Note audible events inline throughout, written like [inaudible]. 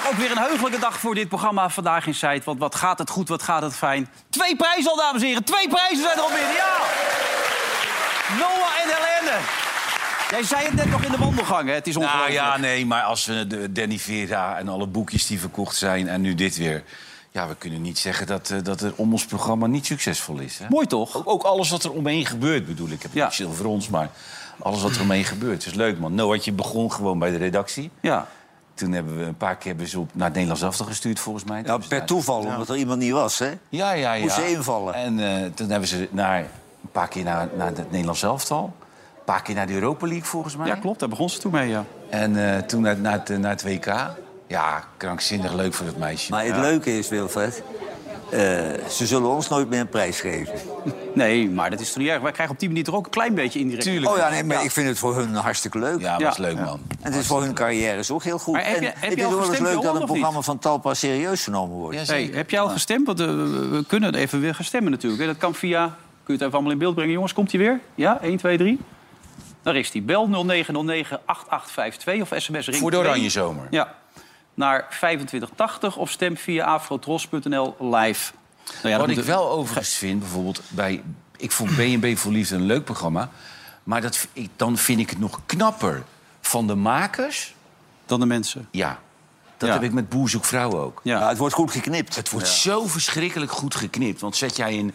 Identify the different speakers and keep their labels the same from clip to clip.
Speaker 1: heugelijke dag voor dit programma vandaag in Zuid. Want wat gaat het goed, wat gaat het fijn. Twee prijzen al, dames en heren. Twee prijzen zijn er al binnen. Ja! Noah en Helene. Jij zei het net nog in de wandelgang, hè? Het is
Speaker 2: Nou
Speaker 1: ongelooflijk.
Speaker 2: ja, nee, maar als we de Danny Vera en alle boekjes die verkocht zijn en nu dit weer. Ja, we kunnen niet zeggen dat, eh, dat het om ons programma niet succesvol is. Hè?
Speaker 1: Mooi toch?
Speaker 2: Ook, ook alles wat er omheen gebeurt, bedoel ik. Ik heb
Speaker 1: Ja.
Speaker 2: niet zilver ons, maar alles wat er omheen gebeurt. is leuk, man. Noah, je begon gewoon bij de redactie.
Speaker 1: Ja.
Speaker 2: Toen hebben we een paar keer hebben ze op naar het Nederlands Elftal gestuurd, volgens mij.
Speaker 3: Ja,
Speaker 2: Toen hebben
Speaker 3: per
Speaker 2: ze
Speaker 3: toeval, omdat er iemand niet was, hè?
Speaker 2: daar- Ja, ja, ja.
Speaker 3: Moest ze invallen.
Speaker 2: En eh, toen hebben ze naar, een paar keer naar, naar het Nederlands Elftal. Een paar keer naar de Europa League, volgens mij.
Speaker 1: ja, klopt. Daar begon ze toen mee, ja.
Speaker 2: En eh, toen naar, naar, het, naar het WK. Ja, krankzinnig leuk voor dat meisje.
Speaker 3: Maar het leuke is, Wilfred... eh, ze zullen ons nooit meer een prijs geven.
Speaker 1: Nee, maar dat is toch niet erg. Wij krijgen op die manier toch ook een klein beetje indirect.
Speaker 2: Tuurlijk.
Speaker 3: Oh ja, nee, maar ik vind het voor hun hartstikke leuk.
Speaker 2: Ja,
Speaker 1: Ja.
Speaker 2: was leuk, man.
Speaker 3: En het is voor hun carrières ook heel goed.
Speaker 1: Maar heb je-
Speaker 3: En
Speaker 1: heb je
Speaker 3: het is
Speaker 1: al
Speaker 3: ook wel eens
Speaker 1: gestemd,
Speaker 3: leuk
Speaker 1: Johan,
Speaker 3: dat een
Speaker 1: of niet?
Speaker 3: programma van Talpa serieus genomen wordt.
Speaker 2: Ja,
Speaker 1: Hey,
Speaker 2: zeker.
Speaker 1: heb jij al gestemd? Want eh, we we kunnen even weer gaan stemmen natuurlijk. hè. Dat kan via... Kun je het even allemaal in beeld brengen, jongens? Komt hij weer? Ja, 1, 2, 3. Daar is hij. Bel 0909-8852 of sms ring
Speaker 2: Voor de
Speaker 1: 2.
Speaker 2: Oranje Zomer.
Speaker 1: Ja. Naar 2580 of stem via afrotros.nl live. Nou ja, dat
Speaker 2: Wat
Speaker 1: moet-
Speaker 2: ik wel overigens vind, bijvoorbeeld bij... Ik
Speaker 1: [clears throat]
Speaker 2: vond B&B voor Liefde een leuk programma. Maar dat, v- ik, dan vind ik het nog knapper van de makers.
Speaker 1: Dan de mensen.
Speaker 2: Ja, dat
Speaker 1: Ja.
Speaker 2: heb ik met Boer Zoekt Vrouw ook.
Speaker 1: Ja.
Speaker 3: Nou, het wordt goed geknipt.
Speaker 2: Het wordt zo verschrikkelijk goed geknipt. Want zet jij een,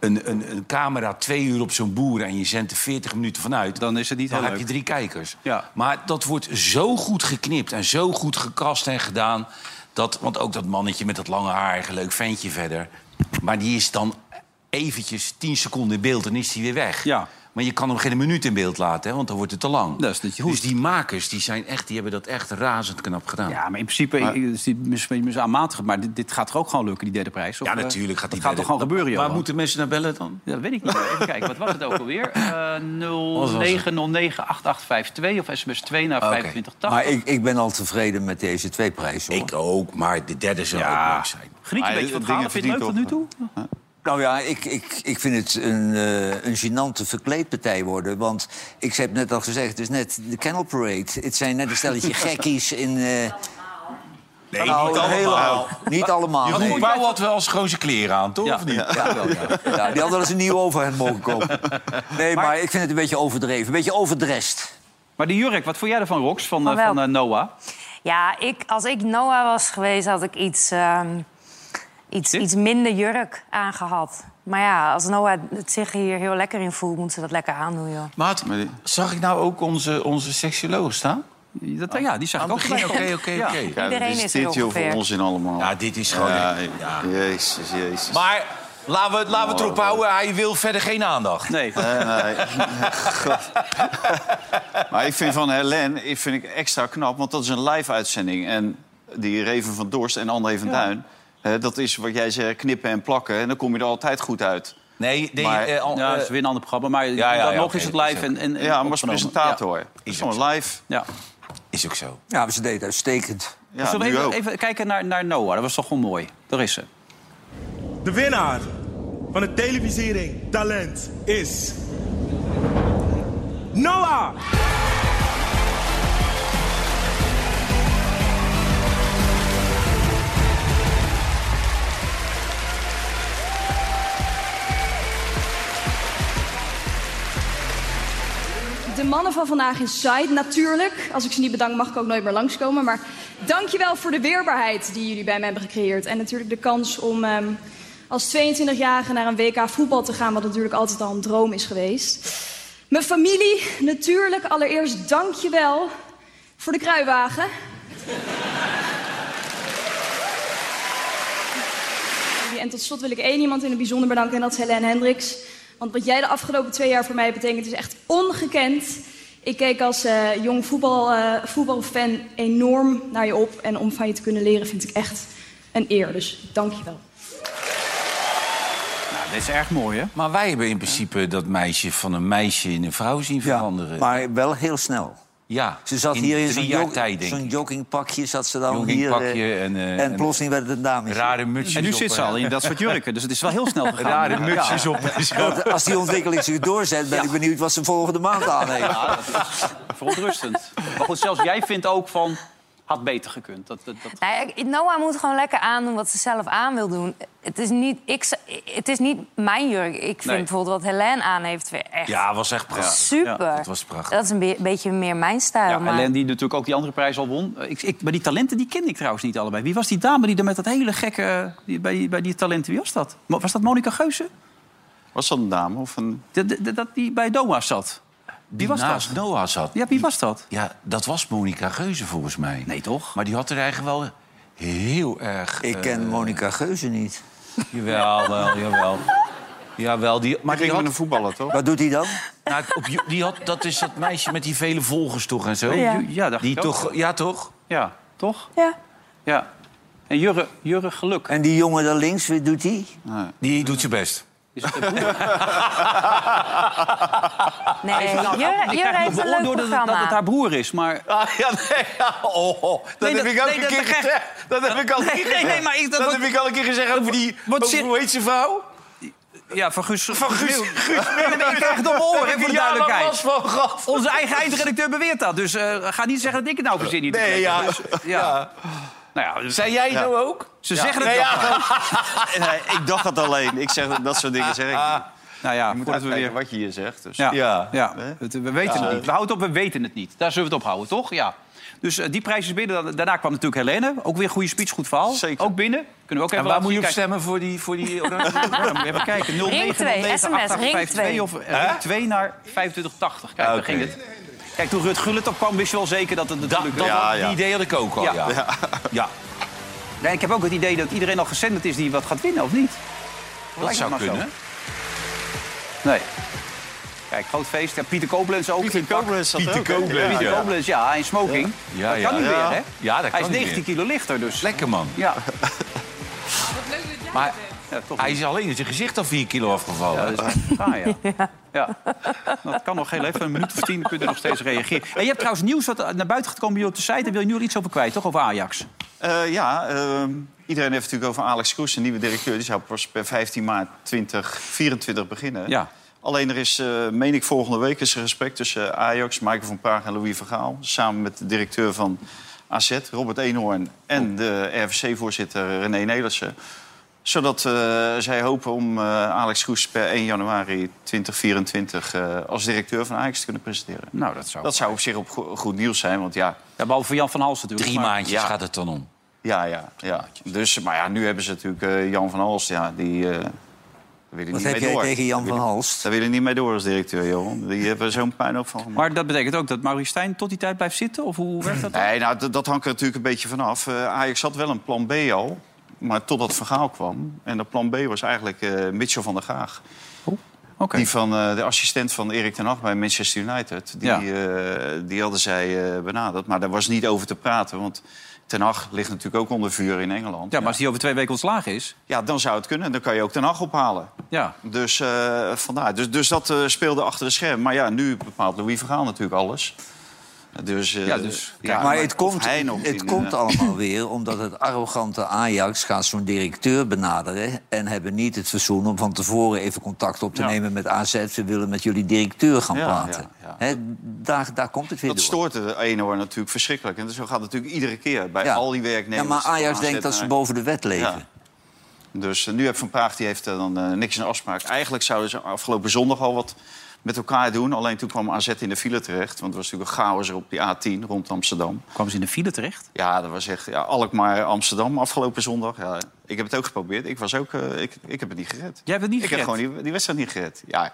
Speaker 2: een, een, een camera twee uur op zo'n boer... en je zendt er 40 minuten vanuit...
Speaker 1: Dan is het niet
Speaker 2: dan
Speaker 1: heel
Speaker 2: heb je
Speaker 1: leuk.
Speaker 2: drie kijkers.
Speaker 1: Ja.
Speaker 2: Maar dat wordt zo goed geknipt en zo goed gekast en gedaan. Dat, want ook dat mannetje met dat lange haar, een leuk ventje verder. Maar die is dan eventjes tien seconden in beeld en is die weer weg.
Speaker 1: Ja.
Speaker 2: Maar je kan hem geen minuut in beeld laten, hè, want dan wordt het te lang.
Speaker 1: Dat is niet goed.
Speaker 2: dus die makers die zijn echt, die hebben dat echt razend knap gedaan.
Speaker 1: Ja, maar in principe
Speaker 2: Maar-
Speaker 1: ik- is dit misschien mis aanmatigend. Maar dit, dit gaat toch ook gewoon lukken, die derde prijs? Of,
Speaker 2: Ja,
Speaker 1: eh,
Speaker 2: natuurlijk
Speaker 1: dat
Speaker 2: gaat die
Speaker 1: gaat
Speaker 2: verder.
Speaker 1: toch gewoon gebeuren,
Speaker 2: Waar
Speaker 1: Johan?
Speaker 2: moeten mensen naar bellen dan?
Speaker 1: Ja, Dat weet ik niet. Even kijken, wat was het ook alweer? Eh 0909-8852 of sms 2 naar 2580.
Speaker 3: Maar ik, ik ben al tevreden met deze twee prijzen. hoor.
Speaker 2: Ik ook, maar de derde zou ook leuk zijn.
Speaker 1: Griek, een
Speaker 4: Maar
Speaker 1: beetje van
Speaker 4: dingen
Speaker 1: het halen. Vind je het leuk tot nu
Speaker 4: verdient
Speaker 1: toe?
Speaker 3: Nou ja, ik, ik, ik vind het een, eh een gênante verkleedpartij worden. Want ik heb net al gezegd, het is net de Kennel Parade. Het zijn net een stelletje gekkies in... eh
Speaker 2: Nee,
Speaker 3: nou,
Speaker 2: niet allemaal.
Speaker 3: helemaal. Nou, Niet allemaal.
Speaker 2: Jeroen
Speaker 3: nee.
Speaker 2: Pauw had wel eens gewoon zijn kleren aan, toch?
Speaker 1: Ja.
Speaker 2: Of niet?
Speaker 3: Ja, wel, ja. Ja, die hadden wel eens een nieuw overhemd mogen kopen. Nee, maar ik vind het een beetje overdreven. Een beetje overdrest.
Speaker 1: Maar die jurk, wat vond jij ervan, Rox, van, eh,
Speaker 5: Van
Speaker 1: van
Speaker 5: welk?
Speaker 1: eh, Noah?
Speaker 5: Ja, ik, als ik Noah was geweest, had ik iets, ehm, iets,
Speaker 1: Dit?
Speaker 5: iets minder jurk aangehad. Maar ja, als Noah het zich hier heel lekker in voelt, moet ze dat lekker aandoen, joh.
Speaker 2: Maar had- zag ik nou ook onze, onze seksoloog staan?
Speaker 1: Dat, ja, die zag ik
Speaker 2: Aan
Speaker 1: ook.
Speaker 2: het begin,
Speaker 1: gelijk.
Speaker 2: oké, oké,
Speaker 1: Ja.
Speaker 2: oké.
Speaker 4: Ja,
Speaker 5: Iedereen
Speaker 4: dit
Speaker 5: is
Speaker 4: dit
Speaker 5: er
Speaker 4: heel veel
Speaker 5: ongeveer.
Speaker 4: onzin allemaal.
Speaker 2: Ja, dit is gewoon...
Speaker 4: Ja,
Speaker 2: ja.
Speaker 4: Jezus, jezus.
Speaker 2: Maar laten we, het- laten we het erop houden, hij wil verder geen aandacht.
Speaker 1: Nee.
Speaker 4: Nee, [laughs] nee. God. maar ik vind van Helen ik vind ik extra knap, want dat is een live-uitzending. En die Reven van Dorst en André van Duin... hè, dat is wat jij zegt, knippen en plakken. En dan kom je er altijd goed uit.
Speaker 2: Nee, nee
Speaker 4: Maar-
Speaker 2: eh, al-
Speaker 1: Ja, dat
Speaker 2: eh,
Speaker 1: is weer een ander programma. Maar
Speaker 2: ja, ja,
Speaker 1: dan nog
Speaker 2: oké,
Speaker 1: is het
Speaker 2: dat is
Speaker 1: live
Speaker 2: ook-
Speaker 1: en, en, en
Speaker 4: Ja, maar als
Speaker 1: opgenomen.
Speaker 4: presentator.
Speaker 1: Ja.
Speaker 4: Het is gewoon live.
Speaker 1: Ja.
Speaker 2: is ook zo.
Speaker 3: Ja, maar ze deed het uitstekend.
Speaker 4: Ja,
Speaker 1: Zullen
Speaker 4: nu
Speaker 1: we even,
Speaker 4: ook.
Speaker 1: even kijken naar, naar Noah? Dat was toch wel mooi. Daar is ze.
Speaker 6: De winnaar van de televisering Talent is... Noah!
Speaker 7: De mannen van vandaag in Zuid natuurlijk. Als ik ze niet bedank mag ik ook nooit meer langskomen. Maar dankjewel voor de weerbaarheid die jullie bij me hebben gecreëerd. En natuurlijk de kans om ehm, als 22-jarige naar een WK voetbal te gaan... wat natuurlijk altijd al een droom is geweest. Mijn familie natuurlijk. Allereerst dankjewel voor de kruiwagen. En tot slot wil ik één iemand in het bijzonder bedanken en dat is Helene Hendricks. Want wat jij de afgelopen twee jaar voor mij betekent is echt ongekend. Ik keek als eh, jong voetbal, eh, voetbalfan enorm naar je op. En om van je te kunnen leren vind ik echt een eer. Dus dank je wel.
Speaker 1: Nou, dit is erg mooi, hè?
Speaker 2: Maar wij hebben in principe dat meisje van een meisje in een vrouw zien veranderen. Ja,
Speaker 3: Maar wel heel snel. Ze zat hier in zo'n,
Speaker 2: drie jaar
Speaker 3: jog-
Speaker 2: tijd, denk
Speaker 3: zo'n
Speaker 2: ik.
Speaker 3: joggingpakje. Zat ze dan
Speaker 2: Joggingpakje
Speaker 3: hier, eh,
Speaker 2: en, eh, en-
Speaker 3: en plotseling werd het een dame.
Speaker 2: Rare mutsjes
Speaker 1: En nu
Speaker 2: op
Speaker 1: zit ze
Speaker 2: haar.
Speaker 1: al in dat soort jurken. Dus het is wel heel snel gegaan.
Speaker 2: Rare
Speaker 1: Ja.
Speaker 2: mutsjes op en zo.
Speaker 3: Want Als die ontwikkeling zich doorzet, ben ik benieuwd
Speaker 2: [laughs]
Speaker 3: wat ze volgende maand aan heeft.
Speaker 1: Ja, dat is verontrustend. Maar goed, zelfs jij vindt ook van... had beter gekund. Dat, dat, dat...
Speaker 5: Nou, ik- Noah moet gewoon lekker aandoen wat ze zelf aan wil doen. Het is niet, ik, z- het is niet mijn jurk. Ik vind
Speaker 1: Nee.
Speaker 5: bijvoorbeeld wat Helene aan heeft weer echt
Speaker 2: Ja, was echt prachtig.
Speaker 5: super.
Speaker 2: dat was prachtig.
Speaker 5: Dat is een be- beetje meer mijn stijl.
Speaker 1: Ja,
Speaker 5: maar...
Speaker 1: Ellen die natuurlijk ook die andere prijs al won. Eh, Ik, ik, maar die talenten die kende ik trouwens niet allebei. Wie was die dame die er met dat hele gekke... eh, die- bij, die- bij die talenten, wie was dat? Mo- Was dat Monica Geuze?
Speaker 4: Was dat een dame of een...
Speaker 1: Dat, dat, dat die bij Doha zat.
Speaker 2: Die
Speaker 1: Wie was
Speaker 2: naast
Speaker 1: dat?
Speaker 2: Noah zat.
Speaker 1: Ja, wie was dat?
Speaker 2: Ja, dat was Monica Geuze volgens mij.
Speaker 1: Nee, toch?
Speaker 2: Maar die had er eigenlijk wel heel erg...
Speaker 3: Ik
Speaker 2: eh,
Speaker 3: ken Monica Geuze niet.
Speaker 2: Jawel, wel, jawel. Jawel, die, maar
Speaker 4: Maar
Speaker 2: die
Speaker 4: ging
Speaker 2: had,
Speaker 4: met een voetballer, toch?
Speaker 3: Wat doet hij dan?
Speaker 2: nou, op, you- die had... Dat is dat meisje met die vele volgers toch en zo?
Speaker 5: Ja.
Speaker 1: Ja, dacht
Speaker 2: Die
Speaker 1: ik ook.
Speaker 2: toch... Ja, toch?
Speaker 1: Ja, toch?
Speaker 5: Ja.
Speaker 1: Ja. En Jurre, Jurre Geluk.
Speaker 3: En die jongen daar links, wat doet hij?
Speaker 2: Die doet zijn best.
Speaker 1: Is het een broer? Ah,
Speaker 5: Nee, Jure,
Speaker 1: Ik
Speaker 5: Jure
Speaker 1: krijg
Speaker 5: heeft
Speaker 1: nog
Speaker 5: een
Speaker 1: beoordeeld dat, het- dat
Speaker 5: leuk programma.
Speaker 1: het haar broer is, maar...
Speaker 4: Ah, ja, nee, ja, oh, oh, dat
Speaker 1: Nee,
Speaker 4: heb
Speaker 1: dat-
Speaker 4: ik ook
Speaker 1: nee,
Speaker 4: een
Speaker 1: dat
Speaker 4: keer
Speaker 1: begrijp-
Speaker 4: gezegd. Dat heb ik al een
Speaker 1: Nee,
Speaker 4: keer
Speaker 1: nee,
Speaker 4: gezegd.
Speaker 1: nee, maar ik- dat
Speaker 4: dat
Speaker 1: wordt-
Speaker 4: heb ik al een keer gezegd over die...
Speaker 1: wordt
Speaker 4: over
Speaker 1: zin-
Speaker 4: hoe heet zijn vrouw?
Speaker 1: Ja, van Guus... Van
Speaker 4: Guus- Guus
Speaker 1: Ik krijg het op mijn oren, hè,
Speaker 4: Heb
Speaker 1: voor
Speaker 4: ik
Speaker 1: de
Speaker 4: jarenlang
Speaker 1: duidelijkheid.
Speaker 4: last van gehad.
Speaker 1: Onze eigen eindredacteur beweert dat. Dus eh, ga niet zeggen dat ik het nou verzin niet. dus,
Speaker 4: Nee, ja.
Speaker 1: ja. Nou ja, dus-
Speaker 2: Zijn jij nou ook?
Speaker 1: ze zeggen het
Speaker 4: Nee,
Speaker 1: wel.
Speaker 4: ja. [laughs] Nee, ik dacht dat alleen. Ik zeg, dat soort dingen zeg ik niet.
Speaker 1: Nou ja,
Speaker 4: Je moet
Speaker 1: goed.
Speaker 4: even weer wat je hier zegt. Dus.
Speaker 1: Ja, ja.
Speaker 2: Ja.
Speaker 1: Het- we weten het niet. We houden het op, we weten het niet. Daar zullen we het op houden, toch? Ja. Dus eh, die prijs is binnen. Dan- Daarna kwam natuurlijk Helene. Ook weer een goede speech, goed verhaal.
Speaker 4: Zeker.
Speaker 1: Ook binnen. Kunnen we ook
Speaker 2: En
Speaker 1: even
Speaker 2: waar
Speaker 1: laten
Speaker 2: moet je op
Speaker 1: zien.
Speaker 2: stemmen voor die... Voor
Speaker 1: [laughs]
Speaker 2: die
Speaker 1: Kijk, ja, Nou, moet je even kijken. 09,
Speaker 5: Ring twee,
Speaker 1: 09,
Speaker 5: SMS,
Speaker 1: 88,
Speaker 5: ring
Speaker 1: 52 of eh, ring 2 naar 2580. Kijk, daar
Speaker 4: Oké.
Speaker 1: ging het. Kijk, toen Rut Gullit opkwam, wist je wel zeker dat het
Speaker 2: dat,
Speaker 1: natuurlijk...
Speaker 2: dat-
Speaker 4: Ja, ja.
Speaker 2: Die idee had ik ook al,
Speaker 1: Ja.
Speaker 2: ja. Oh, ja.
Speaker 1: Nee, ik heb ook het idee dat iedereen al gezenderd is die wat gaat winnen, of niet?
Speaker 2: dat
Speaker 1: Lijkt me
Speaker 2: zou
Speaker 1: maar zo.
Speaker 2: kunnen.
Speaker 1: Nee. Kijk, groot feest. Ja, Pieter Koblenz ook. in
Speaker 4: Pieter
Speaker 1: pak.
Speaker 4: Koblenz zat er ook.
Speaker 2: Koblenz,
Speaker 4: Ja.
Speaker 1: Pieter Koblenz, ja, in smoking.
Speaker 2: Ja,
Speaker 1: dat kan
Speaker 2: ja.
Speaker 1: niet
Speaker 4: Ja.
Speaker 1: meer, hè?
Speaker 2: Ja, dat
Speaker 1: Hij is
Speaker 2: kan niet
Speaker 1: 19 kilo lichter, dus.
Speaker 2: Lekker, man.
Speaker 1: Ja.
Speaker 2: Maar
Speaker 1: ja, toch.
Speaker 2: hij is alleen in zijn gezicht al 4 kilo afgevallen.
Speaker 1: Ja, dat is echt raar, ja. ja. Dat kan nog heel even. Een minuut of tien kun je nog steeds reageren. En je hebt trouwens nieuws wat naar buiten gekomen bij op de site. Daar wil je nu al iets over kwijt, toch? Over Ajax.
Speaker 4: Eh, ja, ehm, iedereen heeft natuurlijk over Alex Kroes, de nieuwe directeur. Die zou pas per 15 maart 2024 beginnen.
Speaker 1: Ja.
Speaker 4: Alleen er is, eh, meen ik, volgende week is er gesprek tussen Ajax, Michael van Praag en Louis van Gaal. Samen met de directeur van AZ, Robert Eenhoorn, en de RVC-voorzitter René Nelissen. Zodat eh, zij hopen om eh, Alex Kroes per 1 januari 2024 eh, als directeur van Ajax te kunnen presenteren.
Speaker 1: Nou, dat zou...
Speaker 4: Dat zou op zich op go- goed nieuws zijn, want ja,
Speaker 1: Ja, behalve voor Jan van Hals natuurlijk.
Speaker 2: Drie
Speaker 1: maar-
Speaker 2: maandjes
Speaker 4: ja.
Speaker 2: gaat het dan om.
Speaker 4: Ja, ja, ja. Dus, maar ja, nu hebben ze natuurlijk eh, Jan van Hals. Ja, die eh daar willen
Speaker 3: Wat
Speaker 4: niet
Speaker 3: heb
Speaker 4: mee
Speaker 3: jij
Speaker 4: door.
Speaker 3: tegen Jan van Halst?
Speaker 4: Daar willen niet mee door als directeur, joh. Die hebben zo'n pijn ook van gemaakt.
Speaker 1: Maar dat betekent ook dat Maurice Stijn tot die tijd blijft zitten? Of hoe werkt dat? dan?
Speaker 4: Nee, nou, dat- dat hangt er natuurlijk een beetje vanaf. Eh Ajax had wel een plan B al, maar totdat verhaal kwam. En dat plan B was eigenlijk eh Mitchell van der Gaag.
Speaker 1: Oké.
Speaker 4: Die van eh, de assistent van Erik ten Hag bij Manchester United. Die,
Speaker 1: Ja.
Speaker 4: eh, die hadden zij eh, benaderd. Maar daar was niet over te praten, want ten Hag ligt natuurlijk ook onder vuur in Engeland.
Speaker 1: Ja, maar als die over twee weken ontslagen is...
Speaker 4: ja, dan zou het kunnen. Dan kan je ook ten Hag ophalen.
Speaker 1: Ja,
Speaker 4: Dus, eh, vandaar. dus, dus dat eh, speelde achter de scherm. Maar ja, nu bepaalt Louis Vergaal natuurlijk alles. Dus, eh,
Speaker 1: Ja, dus-
Speaker 4: ja,
Speaker 3: maar het
Speaker 4: of
Speaker 3: komt,
Speaker 4: hij nog
Speaker 3: het
Speaker 4: in,
Speaker 3: komt
Speaker 4: eh, [laughs]
Speaker 3: allemaal weer omdat het arrogante Ajax gaat zo'n directeur benaderen... en hebben niet het verzoen om van tevoren even contact op te nemen met AZ. We willen met jullie directeur gaan
Speaker 4: Ja,
Speaker 3: praten.
Speaker 4: ja,
Speaker 3: Hè, daar, daar komt het weer
Speaker 4: Dat
Speaker 3: door.
Speaker 4: stoort de eenhoorn natuurlijk verschrikkelijk. En zo gaat het natuurlijk iedere keer bij
Speaker 3: Ja.
Speaker 4: al die werknemers.
Speaker 3: Ja, maar
Speaker 4: van
Speaker 3: Ajax
Speaker 4: AZ
Speaker 3: denkt dat ze
Speaker 4: naar-
Speaker 3: boven de wet leven.
Speaker 4: Ja. Dus eh, nu heeft Van Praag die heeft eh, dan eh, niks in afspraak. Eigenlijk zouden ze afgelopen zondag al wat met elkaar doen. Alleen toen kwam AZ in de file terecht. Want er was natuurlijk een chaos op die A10 rond Amsterdam.
Speaker 1: kwamen ze in de file terecht?
Speaker 4: Ja, dat was echt ja, Alkmaar, Amsterdam afgelopen zondag. Ja, ik heb het ook geprobeerd. Ik, was ook, eh, ik, ik heb het niet gered.
Speaker 1: Jij hebt het niet
Speaker 4: ik
Speaker 1: gered?
Speaker 4: heb gewoon die, die wedstrijd niet gered. Ja, ik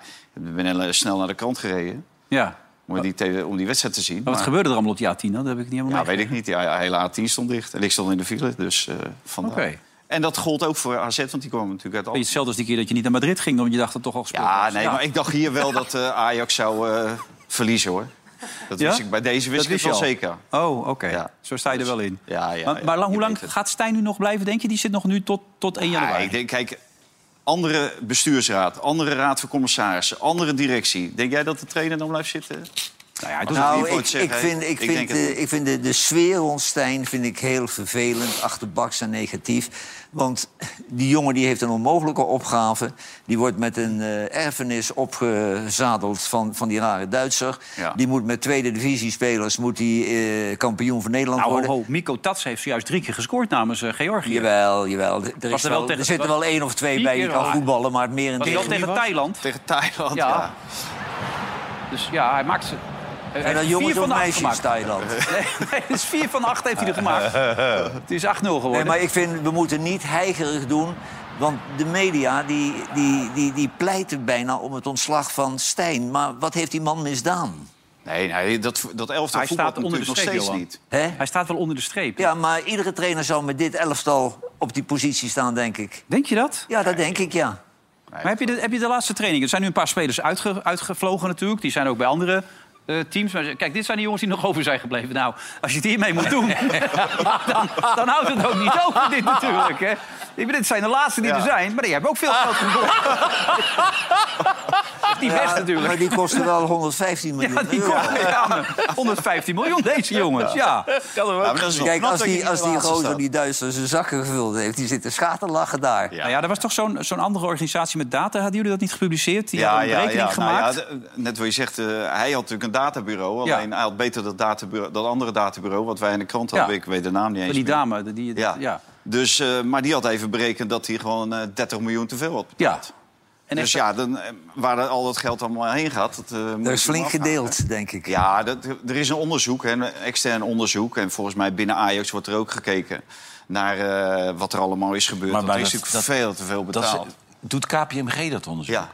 Speaker 4: ben heel eh, snel naar de kant gereden
Speaker 1: Ja.
Speaker 4: om die, te- om die wedstrijd te zien.
Speaker 1: Maar wat
Speaker 4: Maar-
Speaker 1: gebeurde er allemaal op die A10? Dat heb ik niet helemaal
Speaker 4: Ja,
Speaker 1: mee.
Speaker 4: weet ik niet. Ja, ja, hele A10 stond dicht en ik stond in de file. Dus eh vandaar.
Speaker 1: Oké.
Speaker 4: En dat gold ook voor AZ, want die kwamen natuurlijk uit Amsterdam.
Speaker 1: Hetzelfde als die keer dat je niet naar Madrid ging... omdat je dacht dat toch al gespeeld
Speaker 4: Ja,
Speaker 1: was.
Speaker 4: nee, maar ik dacht hier wel dat eh, Ajax zou eh, verliezen, hoor. Dat
Speaker 1: Ja?
Speaker 4: wist ik, bij deze wist
Speaker 1: Dat
Speaker 4: ik het
Speaker 1: wist
Speaker 4: wel
Speaker 1: je al?
Speaker 4: zeker.
Speaker 1: Oh, oké.
Speaker 4: Ja.
Speaker 1: Zo sta je er wel in.
Speaker 4: Ja, ja,
Speaker 1: maar
Speaker 4: ja.
Speaker 1: maar lang, hoe
Speaker 4: Je
Speaker 1: lang
Speaker 4: weet het.
Speaker 1: gaat Stijn nu nog blijven, denk je? Die zit nog nu tot, tot 1
Speaker 4: Ja,
Speaker 1: januari.
Speaker 4: ik denk, kijk, andere bestuursraad, andere raad van commissarissen, andere directie. Denk jij dat de trainer dan blijft zitten? Nou ja,
Speaker 3: Nou, ik, ik vind, ik vind, eh, de, ik vind de, de sfeer rond Stijn vind ik heel vervelend, achterbaks en negatief. Want die jongen die heeft een onmogelijke opgave. Die wordt met een eh, erfenis opgezadeld van, van die rare Duitser.
Speaker 4: Ja.
Speaker 3: Die moet met tweede divisiespelers moet die, eh, kampioen van Nederland
Speaker 1: Nou,
Speaker 3: worden.
Speaker 1: ho, ho, Mikko Tats heeft zojuist drie keer gescoord namens eh, Georgië.
Speaker 3: Jawel, jawel. Er, is
Speaker 1: Was er wel
Speaker 3: er, wel,
Speaker 1: tegen-
Speaker 3: er zitten wel één of twee
Speaker 1: Vier
Speaker 3: bij die
Speaker 1: keer
Speaker 3: kan
Speaker 1: wel.
Speaker 3: voetballen, maar het
Speaker 1: Was hij
Speaker 3: merendeel
Speaker 1: al tegen
Speaker 3: niet.
Speaker 1: Thailand?
Speaker 4: Tegen Thailand,
Speaker 1: Ja.
Speaker 4: ja.
Speaker 1: Dus ja, hij maakt ze. Hij
Speaker 3: En
Speaker 1: heeft
Speaker 3: dan
Speaker 1: vier
Speaker 3: jongens
Speaker 1: van
Speaker 3: of
Speaker 1: de acht
Speaker 3: meisjes
Speaker 1: gemaakt.
Speaker 3: in Thailand.
Speaker 1: Nee, nee, dus vier van de acht heeft hij er
Speaker 4: [laughs]
Speaker 1: gemaakt. Het is 8-0 geworden.
Speaker 3: Nee, maar ik vind, we moeten niet heigerig doen. Want de media die, die, die, die pleiten bijna om het ontslag van Stijn. Maar wat heeft die man misdaan?
Speaker 4: Nee, nee, dat, dat elftal
Speaker 1: Hij
Speaker 4: voetbalt
Speaker 1: staat onder de
Speaker 4: natuurlijk nog
Speaker 1: streep,
Speaker 4: steeds
Speaker 1: Johan.
Speaker 4: niet.
Speaker 3: Hè?
Speaker 1: Hij staat wel onder de streep.
Speaker 3: Ja, maar iedere trainer zou met dit elftal op die positie staan, denk ik.
Speaker 1: Denk je dat?
Speaker 3: Ja, dat denk ik, ja.
Speaker 1: Maar heb je, de, heb je de laatste trainingen? Er zijn nu een paar spelers uitge- uitgevlogen natuurlijk. Die zijn ook bij andere eh, teams. Maar kijk, dit zijn de jongens die nog over zijn gebleven. Nou, als je het hiermee moet doen, [laughs] dan, dan houdt het ook niet over dit natuurlijk. Hè. Ik bedoel, dit zijn de laatste die er zijn. Maar die hebben ook veel geld
Speaker 4: [laughs]
Speaker 1: verloren. Die best natuurlijk.
Speaker 3: Maar die kostte wel 115 miljoen
Speaker 1: Ja, die
Speaker 3: euro.
Speaker 1: komt ja, maar 115 miljoen, deze jongens. Ja.
Speaker 4: Ja, maar dat is nog
Speaker 3: Kijk,
Speaker 4: knap
Speaker 3: als
Speaker 4: dat je
Speaker 3: die,
Speaker 4: niet
Speaker 3: als
Speaker 4: de
Speaker 3: die
Speaker 4: laatste
Speaker 3: gozer
Speaker 4: staat.
Speaker 3: die Duitsers zijn zakken gevuld heeft... die zit te schaterlachen daar.
Speaker 4: Ja.
Speaker 1: Nou ja, er was toch zo'n zo'n andere organisatie met data. Hadden jullie dat niet gepubliceerd? Die hadden een rekening
Speaker 4: nou
Speaker 1: gemaakt.
Speaker 4: ja, d- net wat je zegt, eh, hij had natuurlijk een databureau.
Speaker 1: Ja.
Speaker 4: Alleen hij had beter dat, databureau, dat andere databureau... wat wij in de krant hadden,
Speaker 1: Ja.
Speaker 4: ik weet de naam niet eens
Speaker 1: die
Speaker 4: meer.
Speaker 1: dame, die- die,
Speaker 4: Ja.
Speaker 1: ja. ja.
Speaker 4: Dus, eh, maar die had even berekend dat hij gewoon eh, 30 miljoen te veel had.
Speaker 1: En
Speaker 4: dus
Speaker 1: echt-
Speaker 4: ja, dan, eh, waar er al dat geld allemaal heen gaat... Dat, eh, moet je
Speaker 3: Dat is flink
Speaker 4: afgaan.
Speaker 3: gedeeld, denk ik.
Speaker 4: Ja, dat, er is een onderzoek, hè, een extern onderzoek. En volgens mij binnen Ajax wordt er ook gekeken naar eh, wat er allemaal is gebeurd.
Speaker 2: Maar
Speaker 4: dat
Speaker 2: bij
Speaker 4: is
Speaker 2: dat-
Speaker 4: natuurlijk
Speaker 2: dat-
Speaker 4: veel te veel
Speaker 2: Dat
Speaker 4: betaald.
Speaker 2: ze- doet KPMG dat onderzoek?
Speaker 4: Ja.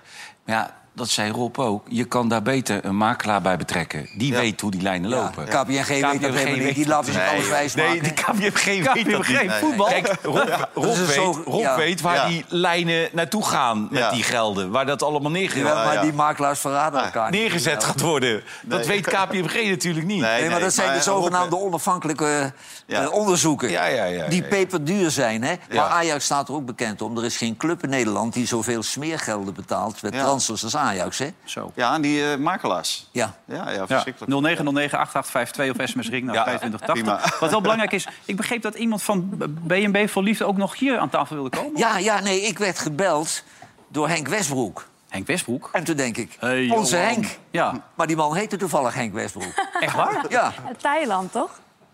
Speaker 2: Maar ja, dat zei Rob ook. Je kan daar beter een makelaar bij betrekken. Die
Speaker 4: Ja.
Speaker 2: weet hoe die lijnen
Speaker 3: Ja,
Speaker 2: lopen.
Speaker 3: KPMG weet dat helemaal niet. Die laten zich
Speaker 4: Nee,
Speaker 3: alles wijs maken.
Speaker 2: Nee, die KPMG weet
Speaker 1: KPMG
Speaker 2: dat niet.
Speaker 1: weet voetbal.
Speaker 2: Kijk, Rob, Rob
Speaker 3: Dat is
Speaker 2: weet,
Speaker 3: zo-
Speaker 2: Rob
Speaker 3: ja.
Speaker 2: weet waar
Speaker 4: Ja.
Speaker 2: die lijnen naartoe gaan met
Speaker 4: Ja.
Speaker 2: die gelden. Waar dat allemaal neerge-
Speaker 3: Jawel,
Speaker 4: Ja,
Speaker 3: maar
Speaker 4: ja.
Speaker 3: die makelaars verraden elkaar niet.
Speaker 2: neergezet gaat worden. Dat weet KPMG natuurlijk niet.
Speaker 3: Nee, maar dat zijn de zogenaamde onafhankelijke
Speaker 4: Ja.
Speaker 3: eh, onderzoeken.
Speaker 2: Ja, ja, ja,
Speaker 3: die
Speaker 2: ja.
Speaker 3: peperduur zijn. Hè? Maar Ajax staat er ook bekend om. Er is geen club in Nederland die zoveel smeergelden betaalt... met
Speaker 4: Ja.
Speaker 3: transfers als Ajax. Hè?
Speaker 1: Zo.
Speaker 4: Ja, en die eh, makelaars.
Speaker 3: Ja.
Speaker 4: Ja, ja,
Speaker 1: Ja,
Speaker 4: verschrikkelijk.
Speaker 1: 0909-8852 of sms ring naar
Speaker 2: Ja,
Speaker 1: 2580.
Speaker 4: prima.
Speaker 1: Wat wel belangrijk is, ik begreep dat iemand van BNB voor Liefde ook nog hier aan tafel wilde komen.
Speaker 3: ja, ja, nee, ik werd gebeld door Henk Westbroek.
Speaker 1: Henk Westbroek.
Speaker 3: En toen denk ik,
Speaker 1: Hey,
Speaker 3: onze
Speaker 1: Johan.
Speaker 3: Henk.
Speaker 1: Ja,
Speaker 3: Maar die man heette toevallig Henk
Speaker 1: [laughs]
Speaker 3: Westbroek.
Speaker 1: echt waar?
Speaker 3: ja,
Speaker 5: Uit Thailand, toch?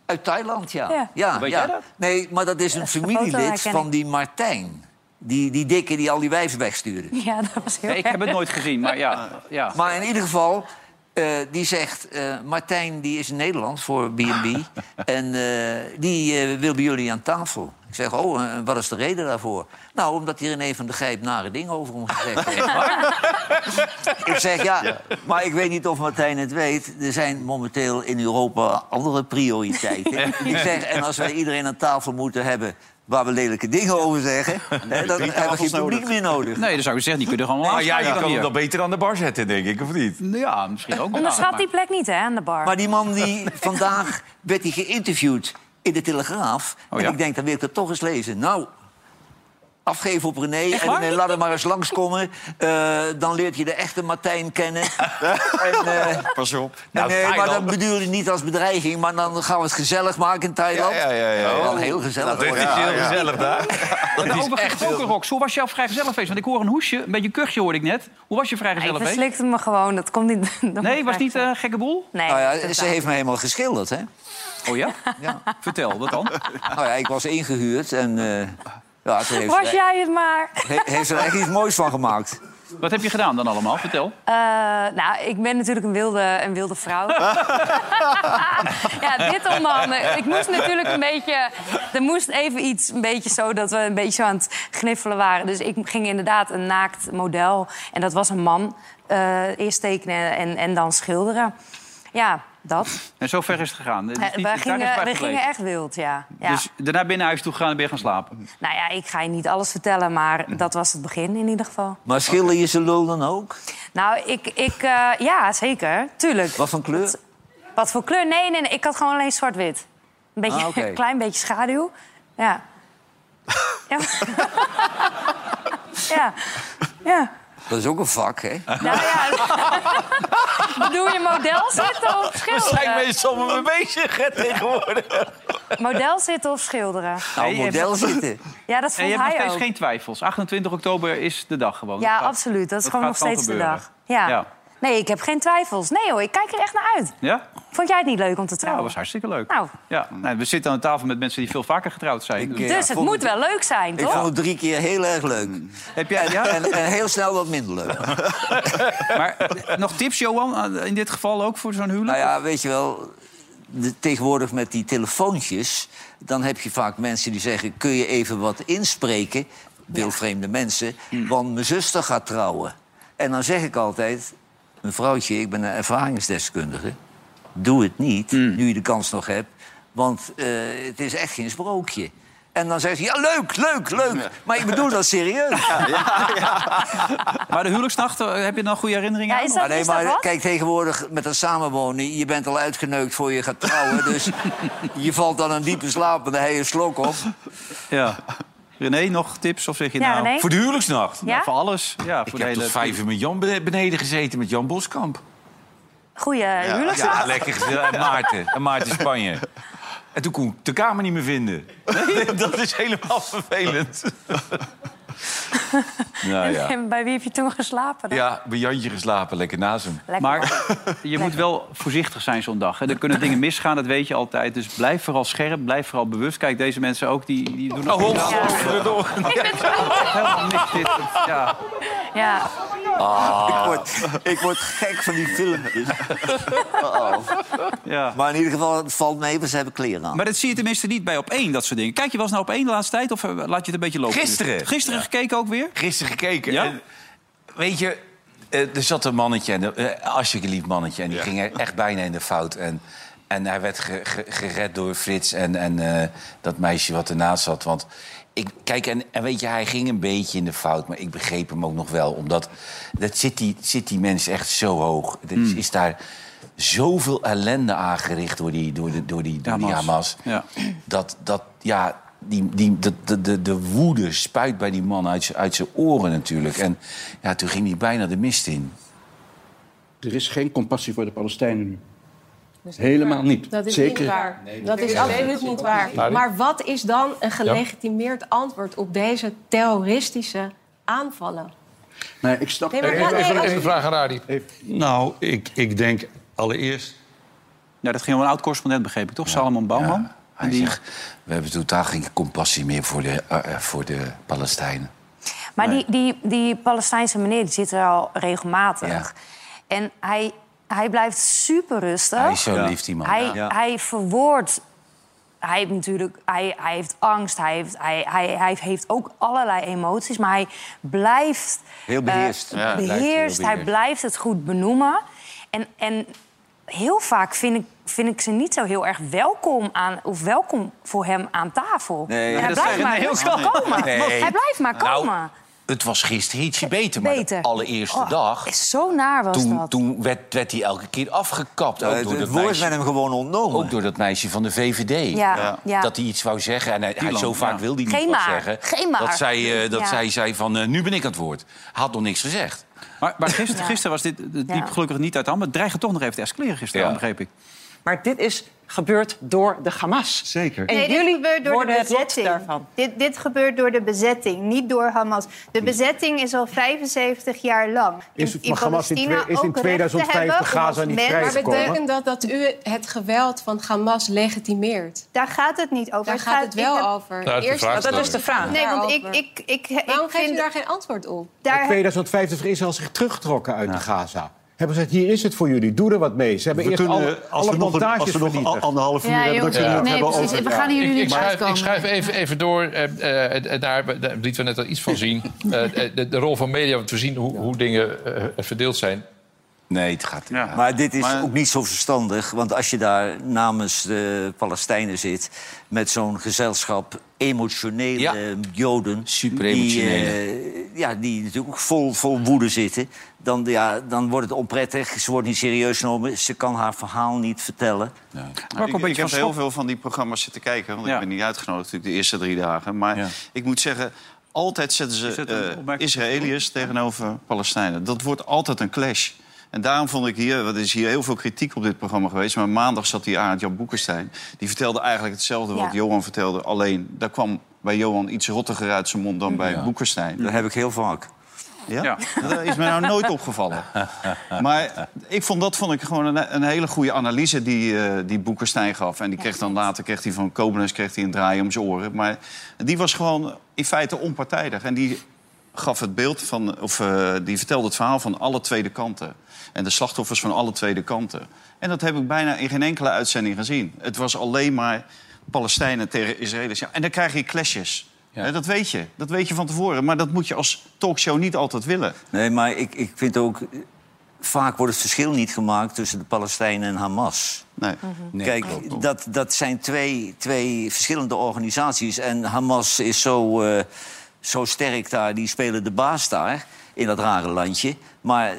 Speaker 3: uit Thailand, ja.
Speaker 5: Ja.
Speaker 3: ja,
Speaker 1: Weet
Speaker 3: ja.
Speaker 1: jij dat?
Speaker 3: Nee, maar dat is een
Speaker 5: de foto
Speaker 3: familielid
Speaker 5: herken
Speaker 3: van
Speaker 5: ik.
Speaker 3: die Martijn. Die, die dikke die al die wijven wegstuurde.
Speaker 5: Ja, dat was heel
Speaker 1: Nee, ik heb het nooit gezien, maar ja. ja.
Speaker 3: Maar in ieder geval, eh, die zegt... eh, Martijn die is in Nederland voor B&B. en eh, die eh, wil bij jullie aan tafel. Ik zeg, oh, eh, wat is de reden daarvoor? Nou, omdat hier René van de Gijp nare dingen over hem gezegd heeft. ik zeg, ja, maar ik weet niet of Martijn het weet. Er zijn momenteel in Europa andere prioriteiten. ik zeg, en als wij iedereen aan tafel moeten hebben... waar we lelijke dingen over zeggen... hè, dan hebben we geen
Speaker 4: tafels
Speaker 3: publiek
Speaker 4: nodig.
Speaker 3: meer nodig.
Speaker 1: Nee, dan zou ik zeggen, die kunnen gewoon
Speaker 2: Maar
Speaker 1: laatst
Speaker 2: ja, je kan hem dan beter aan de bar zetten, denk ik, of niet?
Speaker 1: Ja, misschien ook.
Speaker 5: Onderschat
Speaker 1: Maar-
Speaker 5: die plek niet, hè, aan de bar.
Speaker 3: Maar die man die vandaag werd hij geïnterviewd in de Telegraaf.
Speaker 1: Oh,
Speaker 3: en
Speaker 1: ja.
Speaker 3: ik denk, dan wil ik dat toch eens lezen. Nou, afgeven op René. en
Speaker 1: waar?
Speaker 3: René, laat hem maar eens langskomen. Eh, dan leert je de echte Martijn kennen.
Speaker 2: [laughs]
Speaker 3: en, eh,
Speaker 4: Pas op.
Speaker 2: Nou,
Speaker 3: nee, maar dat
Speaker 2: Thailand.
Speaker 3: bedoel ik niet als bedreiging. Maar dan gaan we het gezellig maken in Thailand.
Speaker 2: Ja, ja, ja, ja, ja.
Speaker 3: Wel heel gezellig
Speaker 2: Dat
Speaker 3: worden.
Speaker 2: is heel gezellig daar.
Speaker 1: En overigens, ook een rock. Hoe was jouw vrijgezellenfeest? Want ik hoor een hoesje, een beetje kuchje hoorde ik net. Hoe was je
Speaker 5: Ik
Speaker 1: vrijgezellenfeest?
Speaker 5: verslikte me gewoon, dat komt niet... [laughs] dat
Speaker 1: Nee,
Speaker 5: moet
Speaker 1: was
Speaker 5: ik
Speaker 1: niet eh,
Speaker 5: echt-
Speaker 1: een gekke boel?
Speaker 5: Nee,
Speaker 3: Nou ja,
Speaker 5: totaal.
Speaker 3: ze heeft me helemaal geschilderd, hè?
Speaker 1: Oh ja? Vertel, wat dan?
Speaker 3: Nou ja, ik was ingehuurd en... eh, ja, ze heeft,
Speaker 5: Was
Speaker 3: er,
Speaker 5: jij het maar?
Speaker 3: he- heeft er echt iets moois van gemaakt.
Speaker 1: Wat heb je gedaan dan allemaal? Vertel.
Speaker 5: Eh, nou, ik ben natuurlijk een wilde, een wilde
Speaker 3: [laughs]
Speaker 5: vrouw. [laughs] ja, dit onder andere. Ik moest natuurlijk een beetje... Er moest even iets, een beetje zo dat we een beetje zo aan het gniffelen waren. Dus ik ging inderdaad een naakt model. En dat was een man. eh, eerst tekenen en, en dan schilderen. Ja,
Speaker 1: [laughs]
Speaker 5: dat.
Speaker 1: En zo ver is het gegaan. Het is niet- daar
Speaker 5: we
Speaker 1: is het bij
Speaker 5: Eh, gingen, we
Speaker 1: gebleven.
Speaker 5: gingen echt wild, ja. ja.
Speaker 1: Dus daarna binnen huis toe gaan en weer gaan slapen.
Speaker 5: Nou ja, ik ga je niet alles vertellen, maar
Speaker 1: Mhm.
Speaker 5: dat was het begin in ieder geval.
Speaker 3: Maar schilder je ze lul dan ook?
Speaker 5: Nou, ik... ik eh, ja, zeker. Tuurlijk.
Speaker 3: Wat van kleur?
Speaker 5: Wat voor kleur? Nee, nee, nee. Ik had gewoon alleen zwart-wit. Een beetje,
Speaker 3: Ah, oké.
Speaker 5: een [laughs] klein beetje schaduw.
Speaker 1: [laughs]
Speaker 5: Ja. ja. ja. Ja.
Speaker 3: Dat is ook een vak, hè?
Speaker 1: [laughs]
Speaker 5: Nou ja, bedoel je model zitten of
Speaker 2: Daar zijn
Speaker 5: schilderen?
Speaker 2: mensen
Speaker 5: [laughs]
Speaker 2: allemaal mee bezig hè, tegenwoordig.
Speaker 5: Model zitten of schilderen?
Speaker 3: Nou,
Speaker 1: Nee, je
Speaker 3: model zitten.
Speaker 5: Ja, dat
Speaker 1: En je
Speaker 5: vond
Speaker 1: hebt nog
Speaker 5: hij
Speaker 1: steeds
Speaker 5: ook.
Speaker 1: geen twijfels. 28 oktober is de dag gewoon.
Speaker 5: Ja,
Speaker 1: Dat gaat-
Speaker 5: absoluut. Dat is
Speaker 1: dat
Speaker 5: gewoon nog
Speaker 1: gaat
Speaker 5: steeds de
Speaker 1: gewoon
Speaker 5: dag.
Speaker 1: gebeuren.
Speaker 5: Ja.
Speaker 1: Ja.
Speaker 5: Nee, ik heb geen twijfels. Nee hoor, ik kijk er echt naar uit.
Speaker 1: Ja?
Speaker 5: Vond jij het niet leuk om te
Speaker 1: Ja, dat
Speaker 5: trouwen?
Speaker 1: was hartstikke leuk.
Speaker 5: Nou.
Speaker 1: Ja. Nee, we zitten aan tafel met mensen die veel vaker getrouwd zijn.
Speaker 3: Ik,
Speaker 1: Dus-
Speaker 3: eh,
Speaker 5: dus
Speaker 3: ja,
Speaker 5: het
Speaker 3: vond
Speaker 5: moet wel leuk zijn,
Speaker 3: Ik
Speaker 5: toch?
Speaker 3: vond het drie keer heel erg leuk.
Speaker 1: Heb jij,
Speaker 2: [laughs]
Speaker 1: ja?
Speaker 3: En, en heel snel wat minder leuk.
Speaker 1: Maar eh, nog tips, Johan, aan- in dit geval ook voor zo'n huwelijk?
Speaker 3: Nou ja, weet je wel, de- tegenwoordig met die telefoontjes... dan heb je vaak mensen die zeggen, kun je even wat inspreken? Wilvreemde mensen, want mijn zuster gaat trouwen. En dan zeg ik altijd, mevrouwtje, ik ben een ervaringsdeskundige. Doe het niet, nu je de kans nog hebt. Want eh, het is echt geen sprookje. En dan zegt ze, ja, leuk, leuk, leuk. Maar ik bedoel dat serieus.
Speaker 1: Maar de huwelijksnacht, eh, heb je dan goede herinneringen
Speaker 5: Ja,
Speaker 1: aan?
Speaker 5: is
Speaker 1: Of-
Speaker 5: dat,
Speaker 3: Maar nee,
Speaker 5: is dat
Speaker 3: maar
Speaker 5: wat?
Speaker 3: kijk, tegenwoordig met dat samenwonen... je bent al uitgeneukt voor je gaat trouwen.
Speaker 8: [laughs]
Speaker 3: dus je valt dan een diepe slaap en dan heb je een slok op.
Speaker 1: Ja. René, nog tips? Of zeg je
Speaker 5: Ja,
Speaker 1: nou...
Speaker 5: René?
Speaker 2: Voor de huwelijksnacht.
Speaker 1: Ja,
Speaker 5: Ja?
Speaker 1: Voor alles. Ja, voor
Speaker 2: Ik
Speaker 1: de
Speaker 2: heb
Speaker 1: hele...
Speaker 2: tot vijf uur met Jan bene- beneden gezeten, met Jan Boskamp.
Speaker 5: Goeie huwelijks...
Speaker 2: Ja, lekker gezellig. En Maarten. En Maarten Spanje. En toen kon ik de kamer niet meer vinden. [laughs] Dat is helemaal
Speaker 1: [laughs]
Speaker 2: vervelend. nou ja.
Speaker 5: [laughs] En bij wie heb je toen geslapen? dan?
Speaker 2: Ja, bij Jantje geslapen, lekker naast hem.
Speaker 5: Lekker.
Speaker 1: Maar [laughs] je moet wel voorzichtig zijn zo'n dag. hè. Er kunnen dingen misgaan, dat weet je altijd. Dus blijf vooral scherp, blijf vooral bewust. Kijk, deze mensen ook, die, die doen ook
Speaker 2: Oh,
Speaker 5: Ja.
Speaker 1: Ik [laughs] helemaal niks dit. Ja.
Speaker 5: ja.
Speaker 2: Ah.
Speaker 3: Ik, word, ik word gek van die filmpjes.
Speaker 1: Ja.
Speaker 3: Maar in ieder geval, het valt mee, want ze hebben kleren aan.
Speaker 1: Maar dat zie je tenminste niet bij op één, dat soort dingen. Kijk je wel eens naar op één de laatste tijd of eh, laat je het een beetje lopen? nu?
Speaker 2: Gisteren.
Speaker 1: Gisteren gekeken ook weer?
Speaker 2: Gisteren gekeken.
Speaker 1: Ja?
Speaker 2: En, weet je, eh, er zat een mannetje, en, eh, alsjeblieft mannetje... en die ging er echt bijna in de fout. En, en hij werd ge- ge- gered door Frits en, en eh, dat meisje wat ernaast zat. Want ik, kijk, en, en weet je, hij ging een beetje in de fout... maar ik begreep hem ook nog wel, omdat dat zit, die, zit die mens echt zo hoog. Er is, is daar zoveel ellende aangericht door die, door de, door die, door die
Speaker 1: Hamas.
Speaker 2: Hamas.
Speaker 1: Ja.
Speaker 2: Dat, dat ja, die, die, de, de- de, de woede spuit bij die man uit, z'n- uit zijn oren natuurlijk. En ja, toen ging hij bijna de mist in.
Speaker 9: Er is geen compassie voor de Palestijnen nu. Helemaal niet.
Speaker 10: Dat is
Speaker 9: Zeker.
Speaker 10: niet waar. dat is absoluut niet waar. Maar wat is dan een gelegitimeerd antwoord op deze terroristische aanvallen?
Speaker 9: Nee, ik snap
Speaker 10: Nee, maar wat- nee, als-
Speaker 11: vraag aan Adi. Nou, ik, ik denk allereerst...
Speaker 1: Ja, dat ging om een oud correspondent, begreep ik toch? Salomon Bouwman?
Speaker 2: Ja, hij zegt, we hebben totaal geen compassie meer voor de, eh, eh, voor de Palestijnen.
Speaker 5: Maar die, die, die Palestijnse meneer die zit er al regelmatig.
Speaker 2: Ja.
Speaker 5: En hij, hij blijft super rustig.
Speaker 2: Hij is zo lief, die man.
Speaker 5: Hij, eh,
Speaker 1: Ja.
Speaker 5: hij verwoordt. Hij heeft natuurlijk. Hij, hij heeft angst. Hij heeft, hij, hij, hij heeft ook allerlei emoties. Maar hij blijft.
Speaker 3: Heel beheerst.
Speaker 5: eh,
Speaker 3: Ja,
Speaker 5: beheerst.
Speaker 2: blijft heel beheerst.
Speaker 5: Hij blijft het goed benoemen. En, en heel vaak vind ik, vind ik ze niet zo heel erg welkom aan. of welkom voor hem aan tafel.
Speaker 3: Nee,
Speaker 5: En hij
Speaker 1: dat
Speaker 5: blijft
Speaker 1: zei
Speaker 5: maar
Speaker 1: René ook
Speaker 5: rustig
Speaker 1: al.
Speaker 5: komen.
Speaker 2: Nee.
Speaker 5: Hij blijft maar
Speaker 2: Nou,
Speaker 5: komen.
Speaker 2: het was gisteren ietsje beter, maar
Speaker 5: Beter.
Speaker 2: de allereerste
Speaker 5: Oh,
Speaker 2: dag...
Speaker 5: Zo naar was
Speaker 2: Toen,
Speaker 5: dat.
Speaker 2: toen werd, werd hij elke keer afgekapt, ook,
Speaker 3: Eh, het
Speaker 2: door Oh, dat
Speaker 3: het woord werd
Speaker 2: meisje,
Speaker 3: hem gewoon ontnomen.
Speaker 2: ook door dat meisje van de VVD.
Speaker 5: ja,
Speaker 4: Ja.
Speaker 5: ja.
Speaker 2: Dat hij iets wou zeggen. En hij, hij
Speaker 1: man,
Speaker 2: zo vaak
Speaker 1: ja.
Speaker 2: wilde hij
Speaker 5: Geen
Speaker 2: niet wat
Speaker 5: maar,
Speaker 2: zeggen.
Speaker 5: geen maar.
Speaker 2: Dat, zij, eh, dat
Speaker 5: Ja.
Speaker 2: zij zei van, eh, nu ben ik aan het woord. Hij had nog niks gezegd.
Speaker 1: Maar, maar gisteren,
Speaker 5: Ja.
Speaker 1: gisteren was dit dit liep
Speaker 5: Ja.
Speaker 1: gelukkig niet uit de hand. Maar het dreigde toch nog even te escaleren gisteren,
Speaker 2: Ja.
Speaker 1: begreep ik.
Speaker 8: Maar dit is gebeurd door de Hamas.
Speaker 9: Zeker.
Speaker 8: En
Speaker 10: Nee, dit
Speaker 8: jullie
Speaker 10: gebeurt door
Speaker 8: worden
Speaker 10: de
Speaker 8: het lot
Speaker 10: bezetting.
Speaker 8: daarvan.
Speaker 10: Dit, dit gebeurt door de bezetting, niet door Hamas. De bezetting is al 75 jaar lang.
Speaker 11: Is het
Speaker 10: in
Speaker 11: van Hamas in
Speaker 10: Palestina
Speaker 11: twee- is in
Speaker 10: ook recht te
Speaker 11: 2050
Speaker 10: hebben om
Speaker 11: Gaza
Speaker 10: als
Speaker 11: niet
Speaker 10: mens-
Speaker 11: vrij
Speaker 10: Maar
Speaker 11: te komen?
Speaker 10: betekent-
Speaker 8: dat dat u het geweld van Hamas legitimeert?
Speaker 10: Daar gaat het niet over. Het ik heb-
Speaker 8: over.
Speaker 11: Nou, dat is de Eerst- vraag
Speaker 8: dat is de vraag.
Speaker 10: Nee, want ik,
Speaker 8: Daarover.
Speaker 10: ik, ik, ik,
Speaker 8: Waarom geeft u
Speaker 10: vind-
Speaker 8: daar geen antwoord op?
Speaker 11: In
Speaker 10: daar
Speaker 11: 2050 is Israël zich teruggetrokken uit de Gaza. Hebben ze gezegd, hier is het voor jullie, doe er wat mee. Ze hebben eerst alle, alle montages vernietigd.
Speaker 9: anderhalf uur hebben, dan kunnen we het hebben over...
Speaker 11: Ja.
Speaker 5: gaan hier nu
Speaker 12: Ik schrijf, ik schrijf even, even door eh, eh, naar, daar lieten we net al iets van zien. Eh, de, de rol van media, want we zien hoe, hoe dingen eh, verdeeld zijn.
Speaker 2: Nee, het gaat niet.
Speaker 3: Maar dit is
Speaker 4: Maar-
Speaker 3: ook niet zo verstandig. Want als je daar namens de Palestijnen zit... met zo'n gezelschap emotionele
Speaker 2: Ja.
Speaker 3: joden...
Speaker 2: Superemotionele.
Speaker 3: Die, eh, ja, die natuurlijk ook vol, vol woede zitten. Dan, ja, dan wordt het onprettig. Ze wordt niet serieus genomen. Ze kan haar verhaal niet vertellen.
Speaker 1: Maar ook
Speaker 4: Ik,
Speaker 1: een
Speaker 4: ik
Speaker 1: beetje
Speaker 4: heb
Speaker 1: van
Speaker 4: heel
Speaker 1: schok.
Speaker 4: veel van die programma's zitten kijken. Want
Speaker 1: Ja.
Speaker 4: ik ben niet uitgenodigd natuurlijk de eerste drie dagen. Maar
Speaker 2: Ja.
Speaker 4: ik moet zeggen, Altijd zetten ze eh, Israëliërs tegenover Palestijnen. Dat wordt altijd een clash. En daarom vond ik hier, er is hier heel veel kritiek op dit programma geweest... maar maandag zat hier Arend Jan Boekenstein. Die vertelde eigenlijk hetzelfde
Speaker 3: Ja.
Speaker 4: wat Johan vertelde. Alleen, daar kwam bij Johan iets rottiger uit zijn mond dan bij
Speaker 3: Ja.
Speaker 4: Boekenstein.
Speaker 3: Dat heb ik heel vaak.
Speaker 4: Ja? Dat is mij nou nooit opgevallen. Maar ik vond dat vond ik gewoon een, een hele goede analyse die, eh, die Boekenstein gaf. En die kreeg dan later kreeg hij van Koblenz kreeg hij een draai om zijn oren. Maar die was gewoon in feite onpartijdig. En die gaf het beeld van, of eh, die vertelde het verhaal van alle tweede kanten. En de slachtoffers van alle tweede kanten. En dat heb ik bijna in geen enkele uitzending gezien. Het was alleen maar Palestijnen tegen Israëli's. Ja, en dan krijg je clashes. Hè, dat weet je. Dat weet je van tevoren. Maar dat moet je als talkshow niet altijd willen.
Speaker 3: Nee, maar ik, ik vind ook... eh, Vaak wordt het verschil niet gemaakt tussen de Palestijnen en Hamas.
Speaker 4: Nee.
Speaker 3: Nee, Kijk, dat, dat zijn twee, twee verschillende organisaties. En Hamas is zo, eh, zo sterk daar. Die spelen de baas daar, in dat rare landje. Maar eh,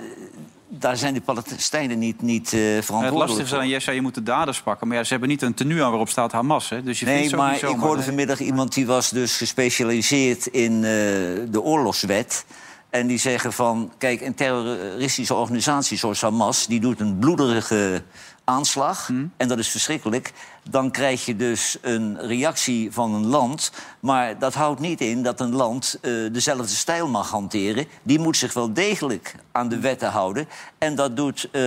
Speaker 3: daar zijn de Palestijnen niet, niet eh,
Speaker 1: Het
Speaker 3: verantwoordelijk
Speaker 1: lastige is aan Jesse, je moet de daders pakken. Maar ja, ze hebben niet een tenue aan waarop staat Hamas. Hè? Dus je vindt
Speaker 3: Nee,
Speaker 1: ze ook
Speaker 3: maar
Speaker 1: niet
Speaker 3: ik
Speaker 1: zomaar.
Speaker 3: hoorde vanmiddag iemand die was dus gespecialiseerd in eh, de oorlogswet. En die zeggen van, kijk, een terroristische organisatie zoals Hamas... die doet een bloederige aanslag,
Speaker 1: Hm?
Speaker 3: en dat is verschrikkelijk. Dan krijg je dus een reactie van een land. Maar dat houdt niet in dat een land eh, dezelfde stijl mag hanteren. Die moet zich wel degelijk aan de wetten houden. En dat doet... eh,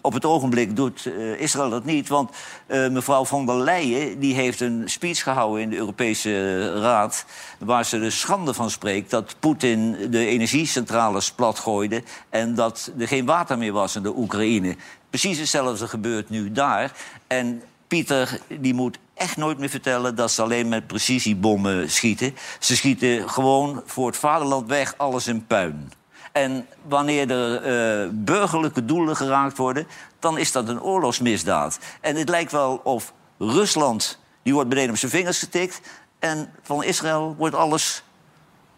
Speaker 3: op het ogenblik doet eh, Israël dat niet. Want eh, mevrouw von der Leyen die heeft een speech gehouden in de Europese eh, Raad. Waar ze de schande van spreekt dat Poetin de energiecentrales platgooide. En dat er geen water meer was in de Oekraïne. Precies hetzelfde gebeurt nu daar. En Pieter die moet echt nooit meer vertellen dat ze alleen met precisiebommen schieten. Ze schieten gewoon voor het vaderland weg alles in puin. En wanneer er eh, burgerlijke doelen geraakt worden, dan is dat een oorlogsmisdaad. En het lijkt wel of Rusland, die wordt beneden op zijn vingers getikt, en van Israël wordt alles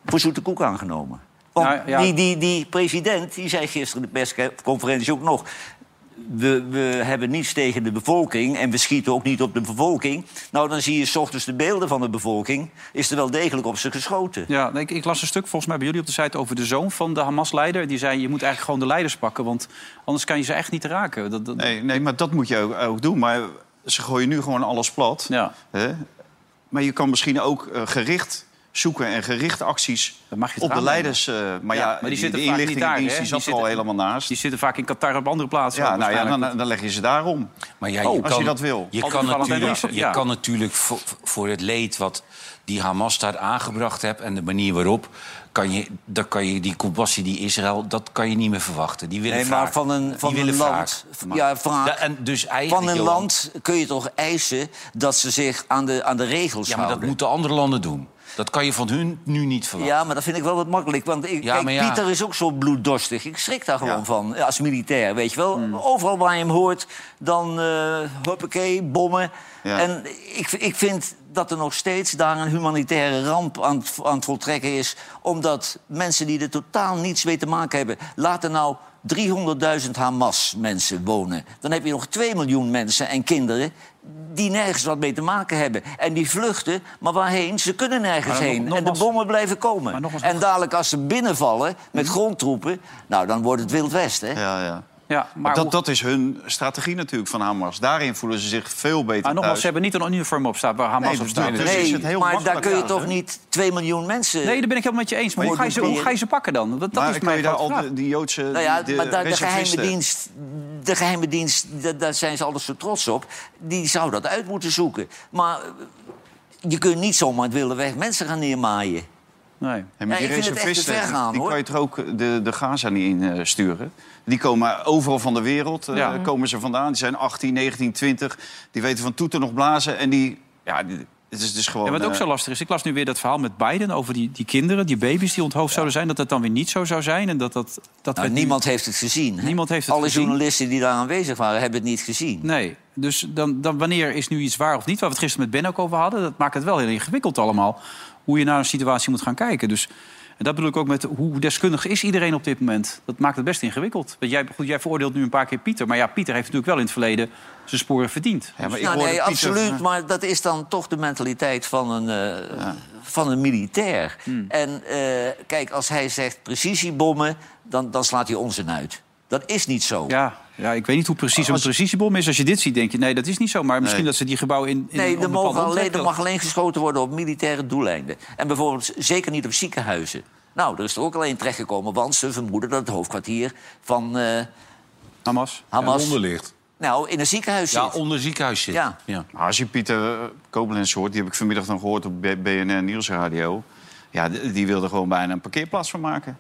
Speaker 3: voor zoete koek aangenomen. Want
Speaker 1: Nou, ja.
Speaker 3: die, die, die president, die zei gisteren in de persconferentie ook nog. We, we hebben niets tegen de bevolking en we schieten ook niet op de bevolking. Nou, dan zie je 's ochtends de beelden van de bevolking. Is er wel degelijk op ze geschoten.
Speaker 1: Ja, nee, ik, ik las een stuk volgens mij bij jullie op de site over de zoon van de Hamas-leider. Die zei, je moet eigenlijk gewoon de leiders pakken, want anders kan je ze echt niet raken. Dat, dat,
Speaker 4: Nee, nee, maar dat moet je ook, ook doen. Maar ze gooien nu gewoon alles plat. Hè? Maar je kan misschien ook eh, gericht zoeken en gericht acties op de
Speaker 1: aannemen.
Speaker 4: leiders. eh, maar ja,
Speaker 1: maar die
Speaker 4: die,
Speaker 1: zitten
Speaker 4: de
Speaker 1: vaak niet
Speaker 4: inlichtingendienst
Speaker 1: daar, hè?
Speaker 4: die zat
Speaker 1: Die
Speaker 4: er al
Speaker 1: zitten-
Speaker 4: helemaal naast.
Speaker 1: Die zitten vaak in Qatar op andere plaatsen.
Speaker 4: Ja,
Speaker 1: ook
Speaker 4: nou ja,
Speaker 1: waarschijnlijk.
Speaker 4: dan, dan leg je ze daarom.
Speaker 2: Maar ja, je
Speaker 4: Oh,
Speaker 2: kan,
Speaker 4: als je dat wil.
Speaker 2: Je
Speaker 4: Als
Speaker 2: kan
Speaker 4: het Valentijn
Speaker 2: natuurlijk,
Speaker 4: Driessen,
Speaker 2: je
Speaker 4: ja.
Speaker 2: kan natuurlijk voor, voor het leed wat die Hamas daar aangebracht hebt... en de manier waarop, kan je, dan kan je die compassie, die Israël... dat kan je niet meer verwachten. Die willen
Speaker 3: Nee, maar
Speaker 2: wraak.
Speaker 3: van een,
Speaker 2: Die
Speaker 3: van een
Speaker 2: willen
Speaker 3: land.
Speaker 2: wraak.
Speaker 3: Ja, wraak.
Speaker 2: Da- en dus eigenlijk,
Speaker 3: van een
Speaker 2: Johan,
Speaker 3: land kun je toch eisen dat ze zich aan de, aan de regels
Speaker 2: Ja, maar dat
Speaker 3: houden.
Speaker 2: moeten andere landen doen. Dat kan je van hun nu niet verwachten.
Speaker 3: Ja, maar dat vind ik wel wat makkelijk. Want ik,
Speaker 2: Ja,
Speaker 3: kijk,
Speaker 2: maar ja.
Speaker 3: Pieter is ook zo bloeddorstig. Ik schrik daar gewoon van, eh, als militair, weet je wel. Overal waar je hem hoort, dan eh hoppakee, bommen.
Speaker 4: Ja.
Speaker 3: En ik, ik vind dat er nog steeds daar een humanitaire ramp aan, het- aan het voltrekken is... omdat mensen die er totaal niets mee te maken hebben... laten nou 300.000 Hamas-mensen wonen. Dan heb je nog 2 miljoen mensen en kinderen... die nergens wat mee te maken hebben. En die vluchten, maar waarheen? Ze kunnen nergens
Speaker 1: Maar nog-
Speaker 3: heen. en de
Speaker 1: nogmaals-
Speaker 3: bommen blijven komen. En dadelijk als ze binnenvallen met grondtroepen... nou, dan wordt het Wild West, hè?
Speaker 4: Ja, ja.
Speaker 1: Ja,
Speaker 4: Maar
Speaker 1: maar,
Speaker 4: eh, dat,
Speaker 1: hoe-
Speaker 4: dat is hun strategie natuurlijk van Hamas. Daarin voelen ze zich veel beter
Speaker 1: maar nogmaals,
Speaker 4: thuis.
Speaker 1: ze hebben niet een uniform op staan waar Hamas
Speaker 4: Nee,
Speaker 1: op staat.
Speaker 4: dat- Dus is het heel
Speaker 3: maar daar
Speaker 4: makkelijk,
Speaker 3: kun je
Speaker 4: ja,
Speaker 3: toch
Speaker 4: hè?
Speaker 3: niet 2 miljoen mensen...
Speaker 1: Nee, daar ben ik helemaal met je eens. Maar hoe ga je ze, hoe ga je ze pakken dan? Dat, dat
Speaker 4: maar
Speaker 1: is
Speaker 4: kan je
Speaker 1: mijn
Speaker 4: daar
Speaker 1: grote
Speaker 4: al
Speaker 1: vraag.
Speaker 4: de, die Joodse
Speaker 3: Nou ja,
Speaker 4: die- de
Speaker 3: maar daar- de, geheime
Speaker 4: reservisten-
Speaker 3: dienst, de geheime dienst, da- daar zijn ze altijd zo trots op. Die zou dat uit moeten zoeken. Maar eh, je kunt niet zomaar het wilde weg mensen gaan neermaaien.
Speaker 1: Nee.
Speaker 4: Ja, maar
Speaker 3: Ja,
Speaker 4: die
Speaker 3: ik vind het echt te
Speaker 4: reservisten,
Speaker 3: ver
Speaker 4: die-
Speaker 3: gaan,
Speaker 4: die
Speaker 3: hoor.
Speaker 4: kan je toch ook eh, de, de Gaza niet in eh, sturen? Die komen overal van de wereld, eh,
Speaker 1: Ja.
Speaker 4: komen ze vandaan. Die zijn 18, 19, 20. Die weten van toeten nog blazen. En die, ja, die- het is dus gewoon...
Speaker 1: Ja, wat ook
Speaker 4: eh,
Speaker 1: zo lastig is, ik las nu weer dat verhaal met Biden over die, die kinderen, die baby's die onthoofd zouden zijn, dat dat dan weer niet zo zou zijn. En dat dat, dat
Speaker 3: Nou,
Speaker 1: werd nu-
Speaker 3: niemand heeft het gezien. hè?
Speaker 1: Niemand heeft het
Speaker 3: Alle
Speaker 1: gezien.
Speaker 3: journalisten die daar aanwezig waren, hebben het niet gezien.
Speaker 1: Nee, dus dan, dan wanneer is nu iets waar of niet? Waar we het gisteren met Ben ook over hadden. Dat maakt het wel heel ingewikkeld allemaal. Hoe je naar een situatie moet gaan kijken. Dus En dat bedoel ik ook met hoe deskundig is iedereen op dit moment. Dat maakt het best ingewikkeld. Want jij, goed, jij veroordeelt nu een paar keer Pieter. Maar ja, Pieter heeft natuurlijk wel in het verleden zijn sporen verdiend. Ja,
Speaker 3: maar ik nou, nee, Pieter... absoluut. Maar dat is dan toch de mentaliteit van een, uh, ja. van een militair. Hmm. En uh, kijk, als hij zegt precisiebommen, dan, dan slaat hij onzin uit. Dat is niet zo.
Speaker 1: Ja, ja ik weet niet hoe precies een precisiebom is. Als je dit ziet, denk je, nee, dat is niet zo. Maar misschien nee. dat ze die gebouwen in, in
Speaker 3: Nee, er, mogen alleen, er mag alleen geschoten worden op militaire doeleinden. En bijvoorbeeld zeker niet op ziekenhuizen. Nou, er is er ook alleen terechtgekomen, want ze vermoeden dat het hoofdkwartier van... Uh,
Speaker 1: Hamas.
Speaker 3: Hamas.
Speaker 2: Ja, onder ligt.
Speaker 3: Nou, in een ziekenhuis
Speaker 2: ja,
Speaker 3: zit.
Speaker 2: Ja, onder ziekenhuis zit.
Speaker 3: Ja.
Speaker 2: ja.
Speaker 4: Als je Pieter Koblenz hoort, die heb ik vanmiddag nog gehoord op BNR Nieuwsradio... Ja, die wilde gewoon bijna een parkeerplaats van maken.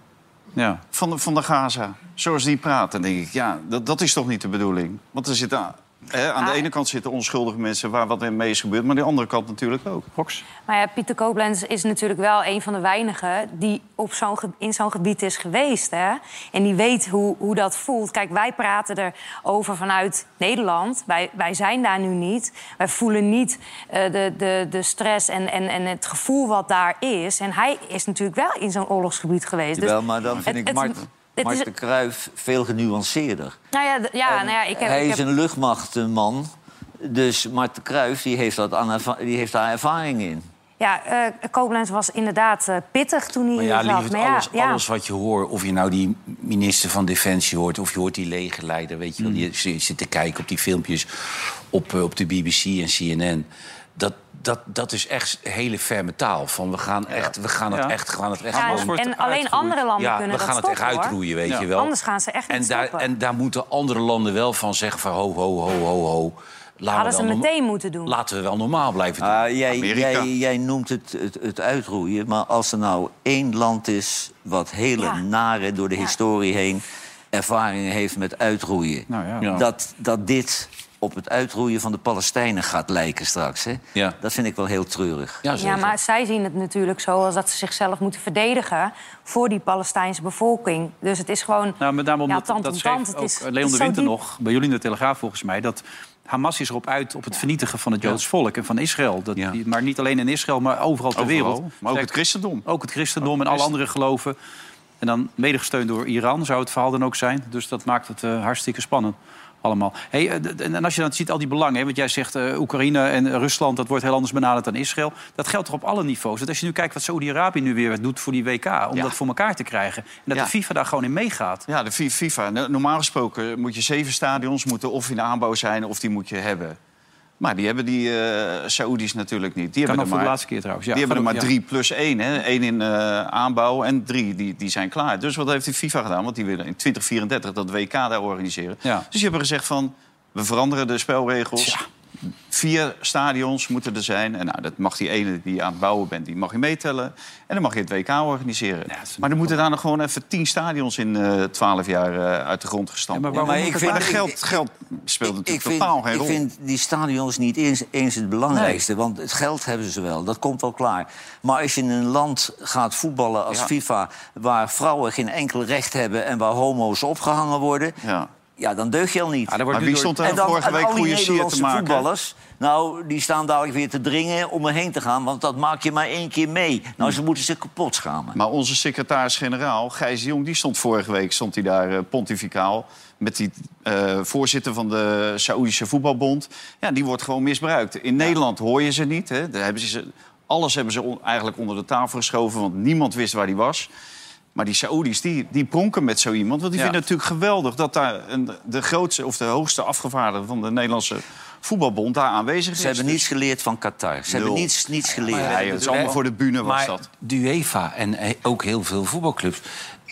Speaker 4: Ja. Van, de, van de Gaza. Zoals die praat, dan denk ik, ja, dat, dat is toch niet de bedoeling? Want er zitten, hè, aan de ah. ene kant zitten onschuldige mensen waar wat mee is gebeurd... maar aan de andere kant natuurlijk ook. Fox.
Speaker 5: Maar ja, Pieter Koblenz is natuurlijk wel een van de weinigen... die op zo'n ge- in zo'n gebied is geweest, hè? En die weet hoe, hoe dat voelt. Kijk, wij praten erover vanuit Nederland. Wij, wij zijn daar nu niet. Wij voelen niet uh, de, de, de stress en, en, en het gevoel wat daar is. En hij is natuurlijk wel in zo'n oorlogsgebied geweest.
Speaker 3: Dus wel, maar dan vind het, ik Mark, het, Mark de Kruijf veel genuanceerder.
Speaker 5: Nou ja, d- ja,
Speaker 3: en
Speaker 5: nou ja ik heb,
Speaker 3: hij
Speaker 5: ik
Speaker 3: is
Speaker 5: heb...
Speaker 3: een luchtmachtman... Dus Mark de Kruijf die heeft, dat aan, die heeft daar ervaring in.
Speaker 5: Ja, uh, Koblenz was inderdaad uh, pittig toen hij
Speaker 2: maar ja,
Speaker 5: hier zat.
Speaker 2: Maar ja, alles, ja. alles wat je hoort, of je nou die minister van Defensie hoort... of je hoort die legerleider, weet je
Speaker 5: Mm.
Speaker 2: wel, die zit, zit te kijken op die filmpjes... op, uh, op de BBC en CNN. Dat, dat, dat is echt hele ferme taal. Van we gaan, echt, we gaan het echt... We gaan het echt
Speaker 5: ja,
Speaker 2: gewoon,
Speaker 5: en, en alleen andere landen kunnen
Speaker 2: we gaan
Speaker 5: dat
Speaker 2: het echt
Speaker 5: stoppen,
Speaker 2: uitroeien,
Speaker 5: hoor.
Speaker 2: weet je wel.
Speaker 5: Anders gaan ze echt
Speaker 2: en
Speaker 5: niet
Speaker 2: daar,
Speaker 5: stoppen.
Speaker 2: En daar moeten andere landen wel van zeggen van ho, ho, ho, ho, ho...
Speaker 5: Laten Hadden
Speaker 2: we
Speaker 5: ze meteen no- moeten doen.
Speaker 2: Laten we wel normaal blijven doen.
Speaker 3: Uh, jij, jij, jij, noemt het, het, het, uitroeien, maar als er nou één land is... wat hele ja. nare door de ja. historie heen ervaringen heeft met uitroeien... Nou ja. Dat, dat dit op het uitroeien van de Palestijnen gaat lijken straks. Hè?
Speaker 2: Ja.
Speaker 3: Dat vind ik wel heel treurig.
Speaker 5: Ja, ja, maar zij zien het natuurlijk zo als dat ze zichzelf moeten verdedigen... voor die Palestijnse bevolking. Dus het is gewoon...
Speaker 1: Nou, met name omdat,
Speaker 5: ja, tant
Speaker 1: dat
Speaker 5: om
Speaker 1: schreef
Speaker 5: tant. Het is,
Speaker 1: ook Leon
Speaker 5: het
Speaker 1: de
Speaker 5: is
Speaker 1: Winter
Speaker 5: diep.
Speaker 1: nog, bij jullie in de Telegraaf volgens mij... dat Hamas is erop uit op het vernietigen van het Joods volk en van Israël. Dat,
Speaker 2: Ja.
Speaker 1: die- maar niet alleen in Israël, maar overal ter
Speaker 4: Overal,
Speaker 1: wereld.
Speaker 4: maar ook
Speaker 1: Zij-
Speaker 4: het christendom.
Speaker 1: Ook het christendom en alle andere geloven. En dan mede gesteund door Iran, zou het verhaal dan ook zijn. Dus dat maakt het eh, hartstikke spannend. Allemaal. Hey, eh, d- en en als je dan ziet al die belangen, hè, want jij zegt eh, Oekraïne en Rusland, dat wordt heel anders benaderd dan Israël. Dat geldt toch op alle niveaus. Dat als je nu kijkt wat Saudi-Arabië nu weer doet voor die WK, om
Speaker 4: Ja.
Speaker 1: dat voor elkaar te krijgen. En dat
Speaker 4: Ja.
Speaker 1: de FIFA daar gewoon in meegaat.
Speaker 4: Ja, de Fi- FIFA. No- Normaal gesproken moet je zeven stadions moeten of in aanbouw zijn of die moet je hebben. Maar die hebben die eh Saoedi's natuurlijk niet. Die
Speaker 1: Kan
Speaker 4: hebben
Speaker 1: ook
Speaker 4: er
Speaker 1: voor de
Speaker 4: maar,
Speaker 1: laatste keer trouwens. Ja,
Speaker 4: die hebben er
Speaker 1: gaat
Speaker 4: maar
Speaker 1: ook- ja.
Speaker 4: drie plus één. Hè. Eén in eh, aanbouw en drie die, die zijn klaar. Dus wat heeft die FIFA gedaan? Want die willen in 2034 dat WK daar organiseren.
Speaker 1: Ja.
Speaker 4: Dus die hebben gezegd van, we veranderen de spelregels. Vier stadions moeten er zijn. En nou, dat mag die ene die aan het bouwen bent, die mag je meetellen. En dan mag je het WK organiseren. maar dan moeten daar nog gewoon even tien stadions in twaalf jaar eh, uit de grond gestampt
Speaker 1: Ja, maar
Speaker 4: worden.
Speaker 1: waarom
Speaker 3: moet
Speaker 4: maar
Speaker 3: het
Speaker 4: dat
Speaker 3: nou-
Speaker 4: geld, geld speelt
Speaker 3: Ik, ik
Speaker 4: natuurlijk
Speaker 3: vind,
Speaker 4: totaal geen
Speaker 3: ik
Speaker 4: rol.
Speaker 3: vind die stadions niet eens, eens het belangrijkste. Want het geld hebben ze wel, dat komt wel klaar. Maar als je in een land gaat voetballen als
Speaker 4: Ja.
Speaker 3: FIFA... waar vrouwen geen enkel recht hebben en waar homo's opgehangen worden...
Speaker 4: Ja.
Speaker 3: ja dan deug je al niet.
Speaker 1: Ja, daar wordt
Speaker 4: Maar
Speaker 1: nu
Speaker 4: wie
Speaker 1: door-
Speaker 4: stond er
Speaker 3: en dan
Speaker 4: vorige
Speaker 3: aan
Speaker 4: week
Speaker 3: al die
Speaker 4: goede sier te
Speaker 3: Nederlandse
Speaker 4: maken?
Speaker 3: voetballers... nou, die staan dadelijk weer te dringen om erheen te gaan... want dat maak je maar één keer mee. Nou, ze moeten zich kapot schamen.
Speaker 4: Maar onze secretaris-generaal, Gijs de Jong, die stond vorige week stond hij daar eh, pontificaal... met die eh, voorzitter van de Saoedische Voetbalbond. Ja, die wordt gewoon misbruikt. In Nederland hoor je ze niet. Hè. Daar hebben ze ze, alles hebben ze on- eigenlijk onder de tafel geschoven... want niemand wist waar die was. Maar die Saoedi's, die, die pronken met zo iemand. Want die
Speaker 1: Ja.
Speaker 4: vinden het natuurlijk geweldig dat daar een, de grootste... of de hoogste afgevaardigde van de Nederlandse voetbalbond daar aanwezig is.
Speaker 3: Ze hebben niets geleerd van Qatar. Ze hebben
Speaker 4: Nul.
Speaker 3: niets, niets
Speaker 4: Ja,
Speaker 3: geleerd.
Speaker 4: het is allemaal voor de bühne was
Speaker 2: maar
Speaker 4: dat.
Speaker 2: de UEFA en eh, ook heel veel voetbalclubs,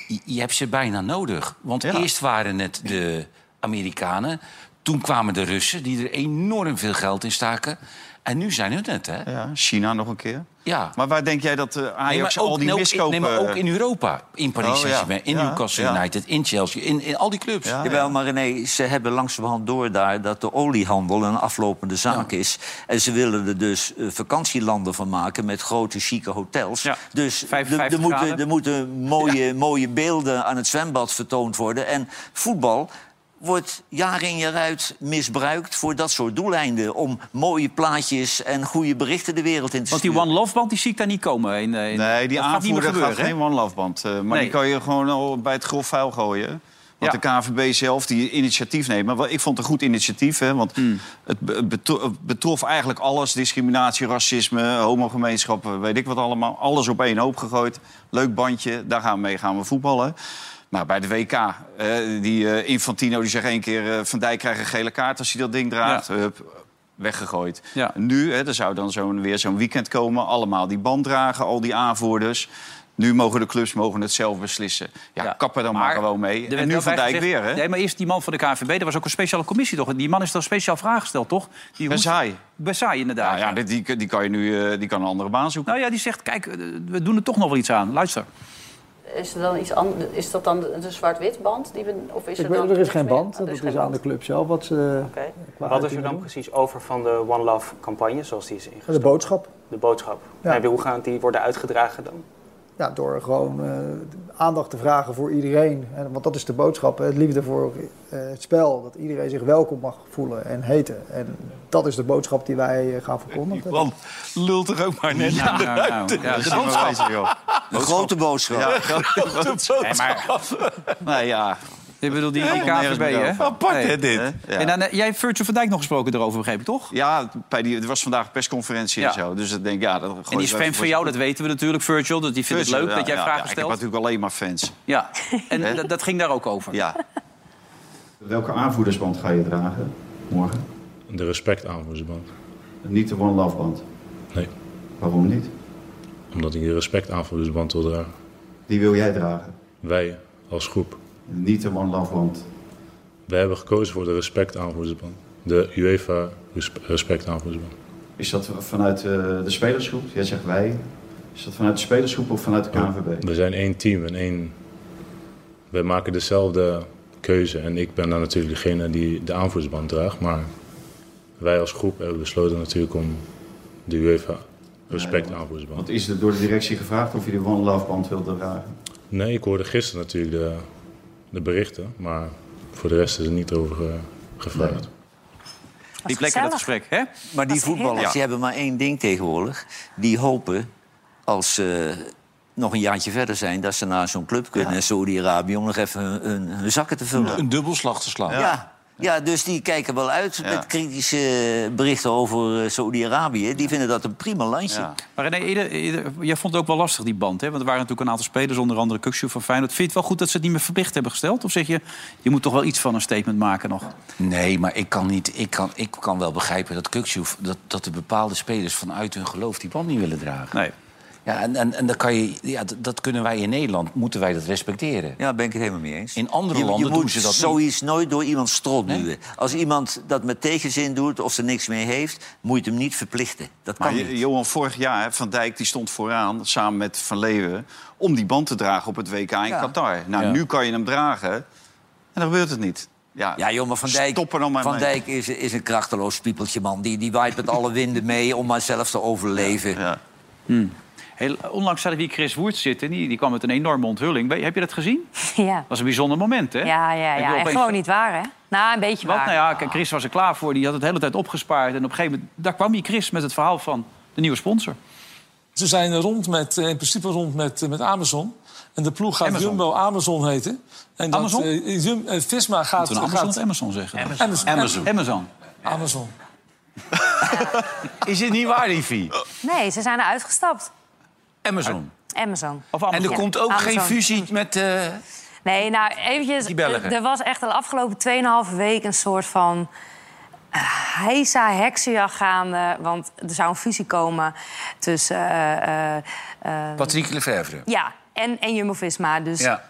Speaker 2: je- je hebt ze bijna nodig. Want
Speaker 4: Ja.
Speaker 2: eerst waren het de Amerikanen, toen kwamen de Russen... die er enorm veel geld in staken. En nu zijn het het, hè?
Speaker 4: Ja, China nog een keer.
Speaker 2: eh, Ja.
Speaker 4: Maar waar denk jij dat eh,
Speaker 2: Nee, maar
Speaker 4: Ajax
Speaker 2: ook-
Speaker 4: al die
Speaker 2: nee, ook-
Speaker 4: miskopen... eh.
Speaker 2: nee, maar ook in Europa. In Paris
Speaker 4: Oh, ja.
Speaker 2: Saint-Germain, in
Speaker 4: Ja,
Speaker 2: Newcastle
Speaker 4: ja.
Speaker 2: United, in Chelsea, in, in al die clubs.
Speaker 1: Ah,
Speaker 4: Ja.
Speaker 3: Jawel, maar René, ze hebben langzamerhand door daar dat de oliehandel een aflopende zaak is. En ze willen er dus eh, vakantielanden van maken met grote, chique hotels.
Speaker 1: Ja,
Speaker 3: Dus er-
Speaker 1: 55
Speaker 3: er moeten,
Speaker 1: graden.
Speaker 3: er moeten mooie, mooie beelden aan het zwembad vertoond worden. En voetbal
Speaker 13: wordt jaar in jaar uit misbruikt voor dat soort doeleinden. Om mooie plaatjes en goede berichten de wereld in te
Speaker 1: Want die
Speaker 13: sturen.
Speaker 1: One Love Band die zie ik daar niet komen. In, eh, in-
Speaker 4: Nee, die
Speaker 1: dat gaat niet meer
Speaker 4: aanvoerder gaat,
Speaker 1: gebeuren, hè?
Speaker 4: geen one-love-band. eh, maar
Speaker 1: Nee.
Speaker 4: die kan je gewoon al bij het grof vuil gooien. Want de KVB zelf die initiatief neemt. Maar wel- ik vond het een goed initiatief. Hè, want
Speaker 1: Hmm.
Speaker 4: het be- betro- het betrof eigenlijk alles. Discriminatie, racisme, homogemeenschappen, weet ik wat allemaal. Alles op één hoop gegooid. Leuk bandje, daar gaan we mee gaan we voetballen. Maar bij de WK, eh, die eh, Infantino die zegt één keer... eh, Van Dijk krijgt een gele kaart als hij dat ding draagt. Hup, weggegooid. Nu, hè, er zou dan zo'n, weer zo'n weekend komen. Allemaal die band dragen, al die aanvoerders. Nu mogen de clubs mogen het zelf beslissen. Ja, kap er dan maar, gewoon mee.
Speaker 1: Er
Speaker 4: En
Speaker 1: werd
Speaker 4: nu
Speaker 1: wel
Speaker 4: Van
Speaker 1: bij
Speaker 4: Dijk
Speaker 1: gezegd-
Speaker 4: weer, hè?
Speaker 1: Nee, maar eerst die man van de KNVB. Er was ook een speciale commissie, toch? Die man is dan speciaal vragen gesteld, toch? Die
Speaker 4: Bezai.
Speaker 1: Bezai, inderdaad.
Speaker 4: Nou ja, die, die, die kan je nu eh, die kan een andere baan zoeken.
Speaker 1: Nou ja, die zegt, kijk, eh, we doen er toch nog wel iets aan. Luister.
Speaker 4: [laughs]
Speaker 14: Is, er dan iets an- is dat dan de zwart-wit band? Die we, of is
Speaker 15: Ik
Speaker 14: er,
Speaker 15: weet-
Speaker 14: dan
Speaker 15: er is
Speaker 14: niks
Speaker 15: geen
Speaker 14: meer?
Speaker 15: band.
Speaker 14: Ah, er
Speaker 15: Dat is,
Speaker 14: geen
Speaker 15: aan de club zelf wat ze eh, qua
Speaker 16: Wat is er
Speaker 15: uitingen
Speaker 16: dan
Speaker 15: doen.
Speaker 16: precies over van de One Love campagne, zoals die is ingesteld?
Speaker 15: De boodschap.
Speaker 16: De boodschap.
Speaker 15: Ja.
Speaker 16: En hoe gaan die worden uitgedragen dan?
Speaker 15: Ja, door gewoon eh, aandacht te vragen voor iedereen. En, want dat is de boodschap. Het liefde voor eh, het spel. Dat iedereen zich welkom mag voelen en heten. En dat is de boodschap die wij eh, gaan verkondigen.
Speaker 2: Want lul toch ook maar net
Speaker 15: Ja,
Speaker 2: aan de
Speaker 15: nou, nou.
Speaker 2: buiten.
Speaker 15: Ja,
Speaker 1: dus
Speaker 15: de boodschap.
Speaker 13: Een grote boodschap.
Speaker 1: [laughs]
Speaker 4: Ja,
Speaker 1: Nee, maar...
Speaker 4: nee, ja.
Speaker 1: Ik bedoel, die, die
Speaker 4: Helemaal nergens
Speaker 1: KNVB,
Speaker 4: meer
Speaker 1: hè?
Speaker 4: over. Apart, hè,
Speaker 1: Nee.
Speaker 4: dit? Ja.
Speaker 1: En dan, eh, jij hebt Virgil van Dijk nog gesproken erover, begreep ik, toch?
Speaker 4: Ja, bij die, er was vandaag een persconferentie en
Speaker 1: Ja.
Speaker 4: zo. Dus ik denk, ja, dat
Speaker 1: En die is fan van jou, dat weten we natuurlijk, Virgil. Dat die vindt het leuk dat jij vragen
Speaker 4: Ik heb
Speaker 1: stelt.
Speaker 4: natuurlijk alleen maar fans. [laughs]
Speaker 1: Ja, en dat- dat ging daar ook over.
Speaker 4: Ja. Welke aanvoerdersband ga je dragen morgen?
Speaker 17: De respect aanvoerdersband.
Speaker 4: Niet de One Love band.
Speaker 17: Nee.
Speaker 4: Waarom niet?
Speaker 17: Omdat ik de respect aanvoerdersband wil dragen.
Speaker 4: Die wil jij dragen?
Speaker 17: Wij als groep.
Speaker 4: Niet de One Love band.
Speaker 17: Wij hebben gekozen voor de respect aanvoerdersband. De UEFA respe- respect aanvoerdersband.
Speaker 4: Is dat vanuit eh, de spelersgroep? Jij zegt wij. Is dat vanuit de spelersgroep of vanuit de KNVB?
Speaker 17: We zijn één team en één... Wij maken dezelfde keuze. En ik ben dan natuurlijk degene die de aanvoerdersband draagt. Maar wij als groep hebben besloten natuurlijk om de UEFA respect aanvoerdersband.
Speaker 4: Want is er door de directie gevraagd of je de One Love band wilt dragen?
Speaker 17: Nee, ik hoorde gisteren natuurlijk de, de berichten. Maar voor de rest is er niet over eh, gevraagd.
Speaker 1: Liep lekker dat gesprek, hè?
Speaker 13: Maar die voetballers
Speaker 1: heerlijk.
Speaker 13: die hebben maar één ding tegenwoordig. Die hopen, als ze nog een jaartje verder zijn... dat ze naar zo'n club kunnen in Saudi-Arabië... om nog even hun, hun- hun zakken te vullen.
Speaker 2: Een dubbelslag te slaan.
Speaker 13: Ja. Ja. dus die kijken wel uit met kritische berichten over eh, Saudi-Arabië. Die vinden dat een prima landje.
Speaker 1: Maar René, ieder- ieder- jij vond het ook wel lastig, die band. Hè? Want er waren natuurlijk een aantal spelers, onder andere Kukshoe van Feyenoord. Vind je het wel goed dat ze het niet meer verplicht hebben gesteld? Of zeg je, je moet toch wel iets van een statement maken nog?
Speaker 2: Nee, maar ik kan, niet, ik kan, ik kan wel begrijpen dat Kukçu- dat, dat de bepaalde spelers vanuit hun geloof die band niet willen dragen.
Speaker 1: Nee.
Speaker 2: Ja, en, en, en dan kan je, ja, d- dat kunnen wij in Nederland, moeten wij dat respecteren.
Speaker 13: Ja, ben ik het helemaal mee eens.
Speaker 2: In andere
Speaker 13: Je, je
Speaker 2: landen doen
Speaker 13: moet
Speaker 2: ze dat niet.
Speaker 13: zoiets nooit door iemand strot duwen. Als iemand dat met tegenzin doet of er niks mee heeft... moet je het hem niet verplichten. Dat kan
Speaker 4: Maar
Speaker 13: niet.
Speaker 4: Jo- Ah, Johan, vorig jaar, hè, Van Dijk die stond vooraan, samen met Van Leeuwen... om die band te dragen op het WK in
Speaker 13: Ja.
Speaker 4: Qatar. Nou,
Speaker 13: Ja.
Speaker 4: nu kan je hem dragen en dan gebeurt het niet. Ja,
Speaker 13: Ja, joh, maar Van Dijk,
Speaker 4: Stop er dan maar
Speaker 13: van
Speaker 4: mee.
Speaker 13: Dijk is, is een krachteloos piepeltje, man. Die, die waait met alle winden mee om maar zelf te overleven.
Speaker 1: Heel, onlangs zaten we hier Chris Woerts zitten. Die, die kwam met een enorme onthulling. Ben- Heb je dat gezien?
Speaker 5: Ja.
Speaker 1: Dat was een bijzonder moment, hè?
Speaker 5: Ja, ja,
Speaker 1: Ik wil
Speaker 5: ja. En
Speaker 1: opeens-
Speaker 5: gewoon niet waar, hè? Nou, een beetje
Speaker 1: Want
Speaker 5: waar.
Speaker 1: nou ja, kijk, Chris was er klaar voor. Die had het de hele tijd opgespaard. En op een gegeven moment, daar kwam hier Chris met het verhaal van de nieuwe sponsor.
Speaker 18: Ze zijn rond met, eh, in principe rond met, eh, met Amazon. En de ploeg gaat
Speaker 1: Amazon.
Speaker 18: Jumbo Amazon heten. En dat,
Speaker 1: Amazon?
Speaker 18: eh, Jum- eh, Visma gaat...
Speaker 1: Moeten we nou Amazon
Speaker 18: gaat-
Speaker 1: of Amazon zeggen?
Speaker 18: Amazon.
Speaker 1: Amazon. Amazon.
Speaker 18: Amazon.
Speaker 2: Is dit niet waar, Liefie?
Speaker 5: Nee, ze zijn eruit gestapt.
Speaker 2: Amazon.
Speaker 5: Amazon.
Speaker 2: En er
Speaker 5: Ja,
Speaker 2: komt ook geen
Speaker 5: Amazon.
Speaker 2: fusie met... eh,
Speaker 5: Nee, nou eventjes.
Speaker 2: Die Belgen.
Speaker 5: Er was echt de afgelopen 2,5 week een soort van. eh, Heisa heksenjacht gaande, want er zou een fusie komen tussen. eh, eh, eh,
Speaker 2: Patrick Lefevre.
Speaker 5: ja, en, en Jumbo-Visma. Dus.
Speaker 2: Ja.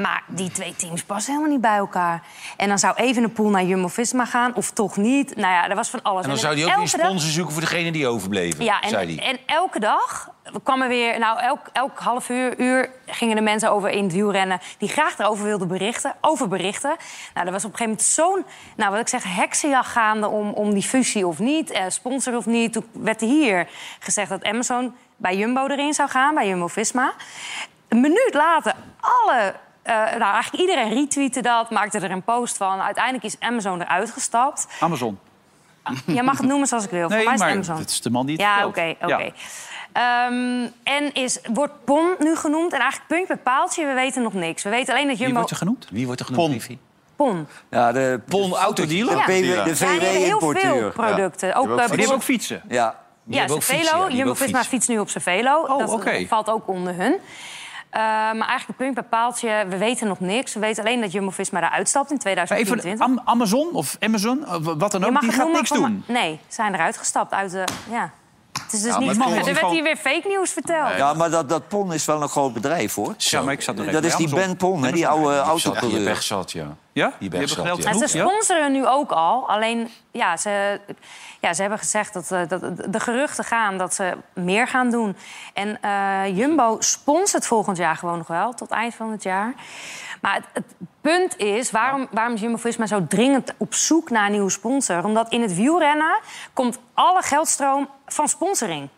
Speaker 5: Maar die twee teams passen helemaal niet bij elkaar. En dan zou even een pool naar Jumbo-Visma gaan, of toch niet. Nou ja, er was van alles.
Speaker 2: En dan
Speaker 5: er
Speaker 2: zou hij ook
Speaker 5: werd
Speaker 2: een
Speaker 5: elke dag-
Speaker 2: sponsor zoeken voor degene die overbleven,
Speaker 5: ja, en,
Speaker 2: zei hij.
Speaker 5: en elke dag kwam er weer... Nou, elk, elk half uur, uur gingen er mensen over in het wielrennen... die graag daarover wilden berichten, over berichten. Nou, er was op een gegeven moment zo'n, nou, wat ik zeg, heksenjacht gaande... om, om die fusie of niet, eh, sponsor of niet. Toen werd hier gezegd dat Amazon bij Jumbo erin zou gaan, bij Jumbo-Visma. Een minuut later, alle eh, nou, eigenlijk iedereen retweette dat, maakte er een post van. Uiteindelijk is Amazon eruit gestapt.
Speaker 1: Amazon.
Speaker 5: Jij mag het noemen zoals ik wil.
Speaker 1: Nee,
Speaker 5: Voor mij is het
Speaker 1: maar
Speaker 5: Amazon.
Speaker 1: het is de man die het
Speaker 5: Ja, oké,
Speaker 1: vertelt.
Speaker 5: oké.
Speaker 1: Ja.
Speaker 5: Ehm, en is, wordt PON nu genoemd? En eigenlijk puntje bij paaltje, we weten nog niks. We weten alleen dat Jumbo...
Speaker 1: genoemd?
Speaker 2: Wie wordt er genoemd, Liefie?
Speaker 5: PON.
Speaker 3: Ja, de
Speaker 2: PON Autodealer?
Speaker 5: Ja.
Speaker 3: de
Speaker 5: Ja, die hebben heel
Speaker 3: VW-importeur.
Speaker 5: veel producten. Ook, eh,
Speaker 1: Maar die hebben ook fietsen.
Speaker 3: Ja.
Speaker 5: ja, zijn velo. Jumbo-Visma fietst nu op zijn velo.
Speaker 1: Oh,
Speaker 5: dat
Speaker 1: oké.
Speaker 5: valt ook onder hun. Eh, maar eigenlijk puntje bij paaltje, we weten nog niks. We weten alleen dat Jumbo-Visma eruit stapt in
Speaker 1: Maar Eh, even
Speaker 5: 2024.
Speaker 1: Am- Amazon of Amazon, of wat dan
Speaker 5: Je
Speaker 1: ook,
Speaker 5: mag
Speaker 1: die
Speaker 5: het
Speaker 1: gaat
Speaker 5: noemen
Speaker 1: niks
Speaker 5: van-
Speaker 1: doen.
Speaker 5: Nee, ze zijn eruit gestapt uit de... Ja. Het is dus
Speaker 3: Ja, maar
Speaker 5: niet...
Speaker 3: het
Speaker 5: Er
Speaker 3: komt
Speaker 5: werd
Speaker 3: gewoon-
Speaker 5: hier weer fake nieuws verteld.
Speaker 3: Ja, maar dat, dat PON is wel een groot bedrijf, hoor.
Speaker 2: Ja, maar ik zat nog
Speaker 3: Dat
Speaker 2: even
Speaker 3: is
Speaker 2: bij
Speaker 3: die
Speaker 2: Amazon.
Speaker 3: Ben Pon, hè, die
Speaker 2: Amazon.
Speaker 3: oude
Speaker 2: Ja, die zat-
Speaker 3: autocoureur.
Speaker 2: Die weg zat, ja.
Speaker 1: Ja?
Speaker 2: Die
Speaker 1: hebben
Speaker 2: weg zat,
Speaker 1: geld
Speaker 2: ja.
Speaker 5: Maar ze
Speaker 1: Ja.
Speaker 5: sponsoren nu ook al. Alleen, ja, ze, ja, ze hebben gezegd dat, eh, dat de geruchten gaan dat ze meer gaan doen. En eh, Jumbo sponsort volgend jaar gewoon nog wel, tot eind van het jaar. Maar het, het punt is, waarom, waarom is Jumbo-Visma zo dringend op zoek naar een nieuwe sponsor? Omdat in het wielrennen komt alle geldstroom van sponsoring.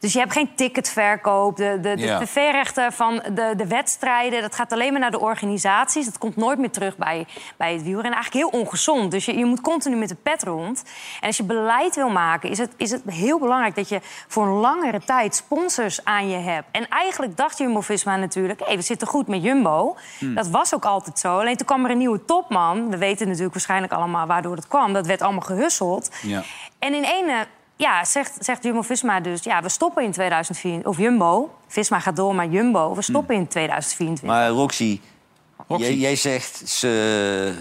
Speaker 5: Dus je hebt geen ticketverkoop, de, de, de
Speaker 2: Ja.
Speaker 5: tv-rechten van de, de wedstrijden... dat gaat alleen maar naar de organisaties. Dat komt nooit meer terug bij, bij het wielrennen. Eigenlijk heel ongezond. Dus je, je moet continu met de pet rond. En als je beleid wil maken, is het, is het heel belangrijk... dat je voor een langere tijd sponsors aan je hebt. En eigenlijk dacht Jumbo-Visma natuurlijk... hé, we zitten goed met Jumbo.
Speaker 19: Hmm.
Speaker 5: Dat was ook altijd zo. Alleen toen kwam er een nieuwe topman. We weten natuurlijk waarschijnlijk allemaal waardoor het kwam. Dat werd allemaal gehusseld.
Speaker 2: Ja.
Speaker 5: En in ene, ja, zegt, zegt Jumbo-Visma dus... ja, we stoppen in 2024. Of Jumbo. Visma gaat door, maar Jumbo. We stoppen in 2024.
Speaker 3: Maar Roxy, Jij, jij zegt ze,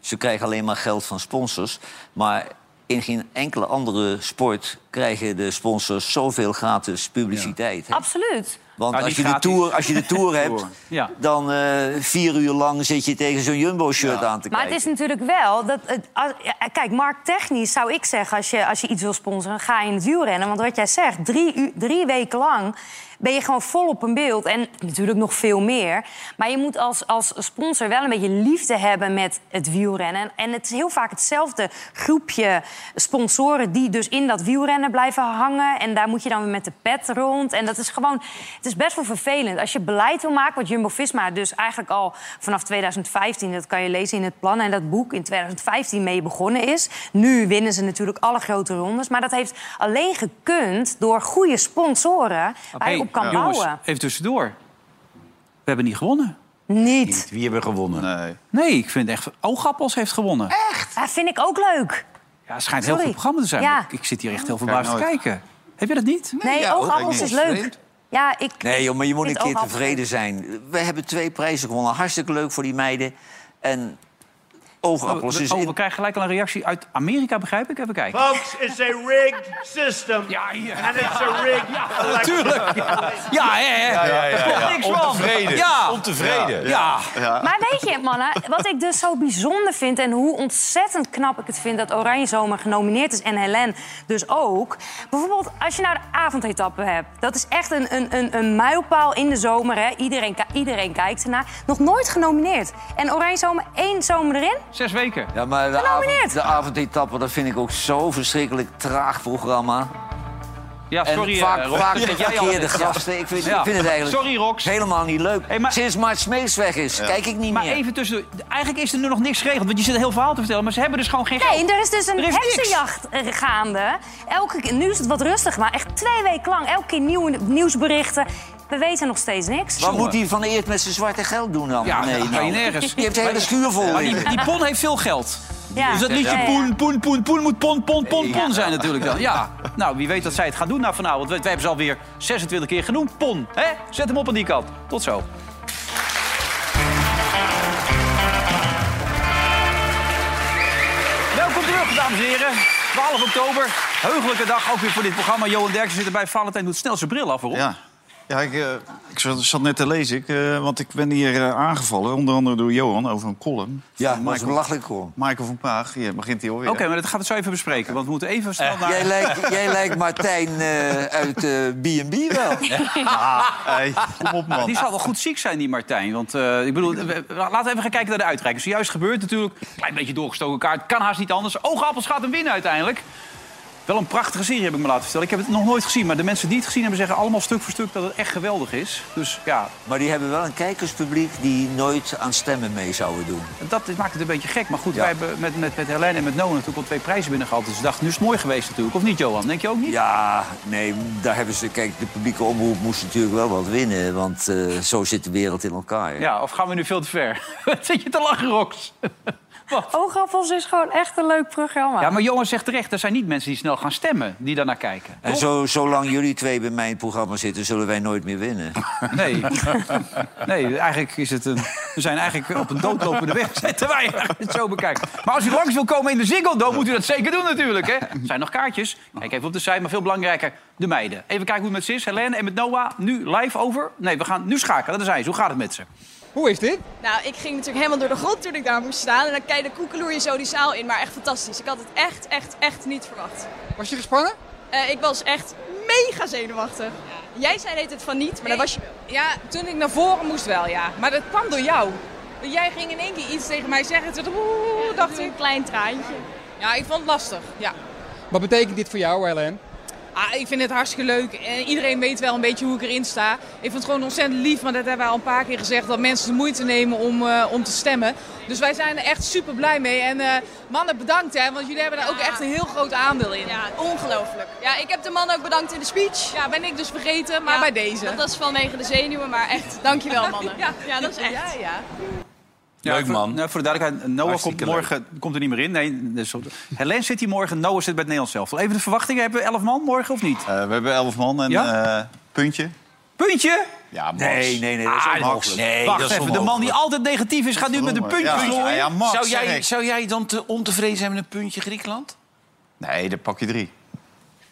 Speaker 3: ze krijgen alleen maar geld van sponsors. Maar in geen enkele andere sport krijgen de sponsors zoveel gratis publiciteit. hè?
Speaker 5: Absoluut.
Speaker 3: Want
Speaker 5: Nou,
Speaker 3: als, je
Speaker 5: die
Speaker 3: de
Speaker 5: gratis.
Speaker 3: tour, als je de
Speaker 2: [laughs]
Speaker 3: tour hebt,
Speaker 5: Ja.
Speaker 3: dan eh, vier uur lang zit je tegen zo'n Jumbo-shirt aan te
Speaker 5: Maar het
Speaker 3: kijken.
Speaker 5: is natuurlijk wel dat. Het, als- ja, kijk, markttechnisch zou ik zeggen: als je, als je iets wil sponsoren, ga je in het wielrennen. Want wat jij zegt, drie, u- drie weken lang ben je gewoon vol op een beeld. En natuurlijk nog veel meer. Maar je moet als, als sponsor wel een beetje liefde hebben met het wielrennen. En, en het is heel vaak hetzelfde groepje sponsoren die dus in dat wielrennen blijven hangen. En daar moet je dan weer met de pet rond. En dat is gewoon. Het is best wel vervelend. Als je beleid wil maken, wat Jumbo Visma dus eigenlijk al vanaf 2015, dat kan je lezen in het plan en dat boek in 2015 mee begonnen is. Nu winnen ze natuurlijk alle grote rondes. Maar dat heeft alleen gekund door goede sponsoren waar
Speaker 1: Hey,
Speaker 5: je op kan
Speaker 1: eh, jongens,
Speaker 5: bouwen.
Speaker 1: even tussendoor. We hebben niet gewonnen.
Speaker 5: Niet.
Speaker 2: Wie hebben gewonnen?
Speaker 1: Nee. Nee, ik vind echt... Oogappels heeft gewonnen.
Speaker 5: Echt? Dat vind ik ook leuk.
Speaker 1: Ja, het schijnt
Speaker 5: Eh, Sorry.
Speaker 1: heel goed programma te zijn.
Speaker 5: Ja.
Speaker 1: maar Ik, ik zit hier echt heel
Speaker 3: Kijk
Speaker 1: verbaasd te
Speaker 3: nooit.
Speaker 1: kijken. Heb je dat niet?
Speaker 5: Nee, oogappels is leuk. Ja, ik.
Speaker 3: Nee, joh, maar je moet
Speaker 5: vind
Speaker 3: een keer
Speaker 5: oogappels leuk.
Speaker 3: tevreden zijn. We hebben twee prijzen gewonnen. Hartstikke leuk voor die meiden. En oogappels
Speaker 1: we,
Speaker 3: is...
Speaker 1: oh,
Speaker 3: in-
Speaker 1: we krijgen gelijk al een reactie uit Amerika, begrijp ik? Even kijken.
Speaker 6: Folks, it's a rigged system. And it's a rigged election.
Speaker 1: Natuurlijk. Ja, hè, hè.
Speaker 6: Ja, ja, ja,
Speaker 1: Er klopt
Speaker 6: ja.
Speaker 1: niks van.
Speaker 6: Ontevreden.
Speaker 1: Ja.
Speaker 6: Ontevreden.
Speaker 1: Ja.
Speaker 5: Maar weet je, mannen, wat ik dus zo bijzonder vind... en hoe ontzettend knap ik het vind dat Oranje Zomer genomineerd is... en Helen dus ook. Bijvoorbeeld, als je nou de avondetappe hebt... dat is echt een, een, een, een mijlpaal in de zomer, hè. Iedereen, ki- iedereen kijkt ernaar. Nog nooit genomineerd. En Oranje Zomer, één zomer erin?
Speaker 1: Zes weken.
Speaker 3: Ja, maar de, avond, de avondetappe, dat vind ik ook zo verschrikkelijk traag programma.
Speaker 1: Ja, sorry,
Speaker 3: en
Speaker 1: eh,
Speaker 3: vaak,
Speaker 1: Rob.
Speaker 3: vaak
Speaker 1: Ja, jij al
Speaker 3: verkeerde
Speaker 1: net.
Speaker 3: gasten. Ik vind,
Speaker 1: Ja.
Speaker 3: ik vind het eigenlijk
Speaker 1: Sorry, Rox.
Speaker 3: helemaal niet leuk. Sinds Mart Smeets weg is,
Speaker 1: Ja.
Speaker 3: kijk ik niet
Speaker 1: maar
Speaker 3: meer.
Speaker 1: even tussen. Eigenlijk is er nu nog niks geregeld. Want je zit een heel verhaal te vertellen. Maar ze hebben dus gewoon geen
Speaker 5: Nee,
Speaker 1: geld.
Speaker 5: en er is dus een
Speaker 1: Er is niks.
Speaker 5: heksenjacht eh, gaande. Elke keer, nu is het wat rustig, maar echt twee weken lang. Elke keer nieuwe nieuwsberichten. We weten nog steeds niks.
Speaker 3: Wat moet die van Eert met zijn zwarte geld doen dan?
Speaker 1: Ja, nou,
Speaker 3: nee, nou.
Speaker 1: dat kan je nergens.
Speaker 3: Die heeft de hele
Speaker 1: Maar-
Speaker 3: schuur vol
Speaker 1: Maar die,
Speaker 3: liggen.
Speaker 1: die pon heeft veel geld.
Speaker 5: Ja.
Speaker 1: Dus dat liedje
Speaker 5: Ja, ja.
Speaker 1: poen, poen, poen, poen moet pon, pon, pon,
Speaker 5: Ja.
Speaker 1: pon zijn natuurlijk dan. Ja. Nou, wie weet dat zij het gaan doen na vanavond. Wij wij hebben ze alweer 26 keer genoemd. Pon, hè? Zet hem op aan die kant. Tot zo. Welkom terug, dames en heren. 12 oktober, heugelijke dag ook weer voor dit programma. Johan Derksen zit erbij. Valentijn doet snel zijn bril af, hoor.
Speaker 4: Ja, ja ik, eh, ik zat, zat net te lezen, ik, eh, want ik ben hier eh, aangevallen. Onder andere door Johan over een column.
Speaker 3: Ja,
Speaker 4: Van
Speaker 3: dat is een belachelijk column.
Speaker 4: Michael van Praag, hier begint hij alweer.
Speaker 1: Oké, maar dat gaan we zo even bespreken. Want we moeten even snel naar...
Speaker 3: Jij lijkt, jij lijkt Martijn eh, uit eh, B&B
Speaker 1: [laughs]
Speaker 3: wel.
Speaker 4: Ah,
Speaker 1: kom op, man. Die zal wel goed ziek zijn, die Martijn. Want eh, ik bedoel, we- we- laten we even gaan kijken naar de uitreiking. Dus Zojuist gebeurd natuurlijk. Klein beetje doorgestoken kaart. Kan haast niet anders. Oogappels gaat hem winnen uiteindelijk. Wel een prachtige serie heb ik me laten vertellen. Ik heb het nog nooit gezien, maar de mensen die het gezien hebben zeggen allemaal stuk voor stuk dat het echt geweldig is. Dus ja.
Speaker 3: Maar die hebben wel een kijkerspubliek die nooit aan stemmen mee zouden doen.
Speaker 1: En Dat maakt het een beetje gek. Maar goed, wij hebben met, met, met Helene en met Noah natuurlijk al twee prijzen binnengehaald. Dus ik dacht, nu is het mooi geweest natuurlijk. Of niet, Johan? Denk je ook niet?
Speaker 3: Ja, nee, daar hebben ze. Kijk, de publieke omroep moest natuurlijk wel wat winnen. Want eh, zo zit de wereld in elkaar.
Speaker 1: Ja, of gaan we nu veel te ver? [laughs] Wat zit je te lachen, Rox?
Speaker 5: Oogappels is gewoon echt een leuk programma.
Speaker 1: Ja, maar Johan zegt terecht, er zijn niet mensen die snel gaan stemmen die daarnaar kijken.
Speaker 3: En zo, zolang jullie twee bij mij in het programma zitten, zullen wij nooit meer winnen.
Speaker 4: Ah,
Speaker 1: Nee. [laughs] nee, eigenlijk is het een... We zijn eigenlijk op een doodlopende weg, [laughs] zetten wij als je het zo bekijkt. Maar als u langs wil komen in de Ziggo Dome, moet u dat zeker doen natuurlijk, hè? Er zijn nog kaartjes. Kijk even op de site, maar veel belangrijker, de meiden. Even kijken hoe het met ze is. Helene en met Noah, nu live over. Nee, we gaan nu schakelen, daar zijn ze. Hoe gaat het met ze?
Speaker 20: Hoe is dit?
Speaker 21: Nou, ik ging natuurlijk helemaal door de grond toen ik daar moest staan. En dan kijk de koekeloer je zo die zaal in. Maar echt fantastisch. Ik had het echt, echt, echt niet verwacht.
Speaker 20: Was je gespannen?
Speaker 21: Eh, ik was echt mega zenuwachtig. Jij zei deed het van niet, maar dat was je wel.
Speaker 7: Ja, toen ik naar voren moest wel, ja. Maar dat kwam door jou. Jij ging in één keer iets tegen mij zeggen. Toen oeh, dacht ik. Een
Speaker 21: klein traantje.
Speaker 7: Ja, ik vond het lastig, ja.
Speaker 20: Wat betekent dit voor jou, Helen?
Speaker 7: Ah, ik vind het hartstikke leuk. En iedereen weet wel een beetje hoe ik erin sta. Ik vind het gewoon ontzettend lief, want dat hebben we al een paar keer gezegd. Dat mensen de moeite nemen om, eh, om te stemmen. Dus wij zijn er echt super blij mee. En eh, mannen, bedankt hè, want jullie hebben daar ook echt een heel groot aandeel in. Ja,
Speaker 21: ongelooflijk. Ja, ik heb de man ook bedankt in de speech.
Speaker 7: Ja, ben ik dus vergeten, maar bij deze.
Speaker 21: Dat was vanwege de zenuwen, maar echt, dankjewel
Speaker 7: [laughs]
Speaker 21: mannen. ja, ja, dat is echt.
Speaker 7: Ja, ja.
Speaker 1: Leuk man. Voor, nou, voor de duidelijkheid, Noah komt, morgen, komt er niet meer in. Nee, dus, Helene zit hier morgen, Noah zit bij het Nederlands zelf. Even de verwachtingen, hebben we elf man morgen of niet?
Speaker 4: Eh, we hebben elf man en
Speaker 1: Ja?
Speaker 4: eh, puntje.
Speaker 1: Puntje?
Speaker 4: Ja, Max.
Speaker 3: Nee, nee, nee, dat is
Speaker 4: Ah,
Speaker 3: onmogelijk.
Speaker 4: nee,
Speaker 1: Wacht
Speaker 4: dat is
Speaker 1: even, de man die altijd negatief is, gaat nu met een puntje.
Speaker 4: Ja,
Speaker 1: verloren.
Speaker 4: ja, ja, Max,
Speaker 2: zou,
Speaker 4: zeg
Speaker 2: jij,
Speaker 4: ik.
Speaker 2: zou jij dan te ontevreden zijn met een puntje Griekenland?
Speaker 4: Nee, dan pak je drie.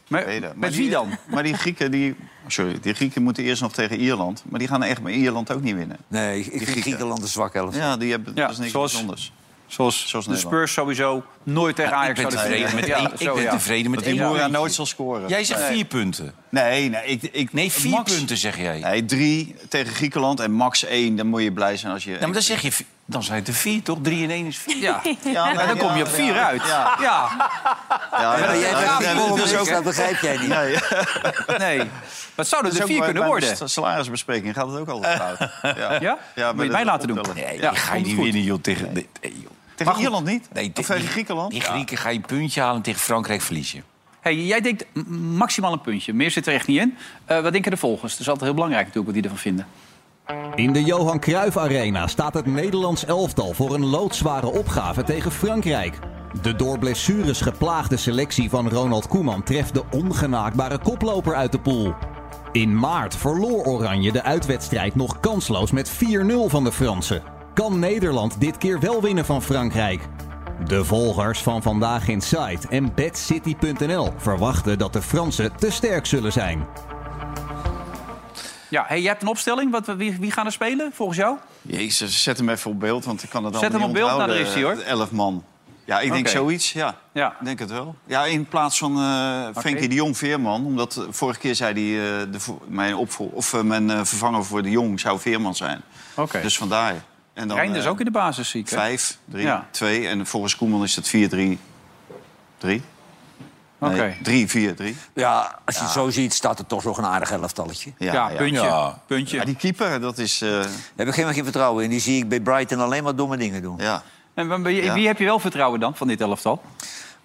Speaker 1: Maar,
Speaker 2: met wie dan?
Speaker 4: Maar die Grieken, die, sorry, die Grieken moeten eerst nog tegen Ierland. Maar die gaan echt bij Ierland ook niet winnen.
Speaker 3: Nee, ik vind Griekenland een zwak elftal.
Speaker 4: Ja, die hebben, dat is niks
Speaker 1: zoals-
Speaker 4: bijzonders.
Speaker 1: Zoals, de
Speaker 4: Nederland.
Speaker 1: Spurs sowieso nooit tegen
Speaker 2: Nou,
Speaker 4: Ja, ik
Speaker 1: Ajax zouden
Speaker 4: ben tevreden
Speaker 1: winnen.
Speaker 4: met
Speaker 1: Ja,
Speaker 4: één- ik
Speaker 1: zo,
Speaker 4: ben
Speaker 1: ja.
Speaker 2: tevreden met
Speaker 1: Dat die
Speaker 2: één
Speaker 1: Moera
Speaker 2: puntje.
Speaker 1: nooit-
Speaker 4: Nooit zal scoren.
Speaker 2: Jij zegt
Speaker 4: Nee.
Speaker 2: vier punten.
Speaker 4: Nee, nee, ik, ik,
Speaker 2: Nee, vier
Speaker 4: Max-
Speaker 2: punten zeg jij.
Speaker 4: Nee, drie tegen Griekenland en max één. Dan moet je blij zijn als je...
Speaker 2: Ja, maar dan zeg je, vi- dan zijn het er vier, toch? Drie en één is vier.
Speaker 1: Ja,
Speaker 4: Ja,
Speaker 1: maar dan kom je op vier
Speaker 4: ja,
Speaker 1: uit.
Speaker 4: ja.
Speaker 1: Ja. Ja,
Speaker 4: Ja, ja,
Speaker 1: jij
Speaker 4: ja,
Speaker 1: vraagt
Speaker 4: ja,
Speaker 1: waarom
Speaker 4: dat is
Speaker 1: ik-
Speaker 4: ook-
Speaker 1: dat begrijp jij niet.
Speaker 4: Nee, ja.
Speaker 1: Nee, wat zouden
Speaker 4: Dat
Speaker 1: er
Speaker 4: is
Speaker 1: vier
Speaker 4: ook
Speaker 1: kunnen
Speaker 4: bij-
Speaker 1: worden?
Speaker 4: Bij de salarisbespreking gaat het ook altijd fout. Ja?
Speaker 1: Ja? Moet je
Speaker 4: bij
Speaker 1: het
Speaker 4: de
Speaker 1: mij laten doen.
Speaker 4: optellen.
Speaker 2: Nee,
Speaker 1: Ja,
Speaker 2: die ga je
Speaker 1: komt
Speaker 2: niet
Speaker 1: goed.
Speaker 2: winnen, joh. Tegen, nee. joh.
Speaker 4: Tegen Ierland niet?
Speaker 2: Nee,
Speaker 4: Of
Speaker 2: die-
Speaker 4: tegen Griekenland?
Speaker 2: Die Grieken ga je een puntje halen en tegen Frankrijk verlies je.
Speaker 1: Hey, jij denkt m- maximaal een puntje. Meer zit er echt niet in. Eh, wat denken de volgers? Dat is altijd heel belangrijk natuurlijk wat die ervan vinden.
Speaker 22: In de Johan Cruijff Arena staat het Nederlands elftal voor een loodzware opgave tegen Frankrijk. De door blessures geplaagde selectie van Ronald Koeman treft de ongenaakbare koploper uit de pool. In maart verloor Oranje de uitwedstrijd nog kansloos met 4-0 van de Fransen. Kan Nederland dit keer wel winnen van Frankrijk? De volgers van Vandaag in Sight en BadCity.nl verwachten dat de Fransen te sterk zullen zijn.
Speaker 1: Ja, hey, jij hebt een opstelling. Wat, wie, wie gaan er spelen volgens jou?
Speaker 4: Jezus, zet hem even op beeld, want ik kan het
Speaker 1: Zet
Speaker 4: allemaal
Speaker 1: hem
Speaker 4: niet
Speaker 1: op beeld,
Speaker 4: onthouden.
Speaker 1: nou, daar is hij, hoor.
Speaker 4: Elf man. Ja, ik denk
Speaker 1: Oké.
Speaker 4: zoiets, ja.
Speaker 1: Ja.
Speaker 4: Ik denk het wel. Ja, in plaats van eh Frenkie de Jong Veerman. Omdat eh, vorige keer zei hij... eh, de vo- mijn, opvol- of, eh, mijn eh, vervanger voor de Jong zou Veerman zijn.
Speaker 1: Oké.
Speaker 4: Dus vandaar. En
Speaker 1: Rijn is
Speaker 4: eh,
Speaker 1: ook in de basis ziek. hè?
Speaker 4: Vijf, drie,
Speaker 1: Ja.
Speaker 4: twee. En volgens Koeman is het vier, drie, drie. Nee,
Speaker 1: Oké.
Speaker 4: Drie, vier, drie.
Speaker 3: Ja, als je het zo ziet, staat er toch nog een aardig elftalletje.
Speaker 1: Ja, puntje.
Speaker 4: Ja.
Speaker 1: puntje.
Speaker 4: Ja, die keeper, dat is... eh,
Speaker 3: Daar heb ik helemaal geen vertrouwen in. Die zie ik bij Brighton alleen maar domme dingen doen.
Speaker 4: Ja.
Speaker 1: En wie- wie,
Speaker 3: Ja.
Speaker 1: wie heb je wel vertrouwen dan van dit elftal?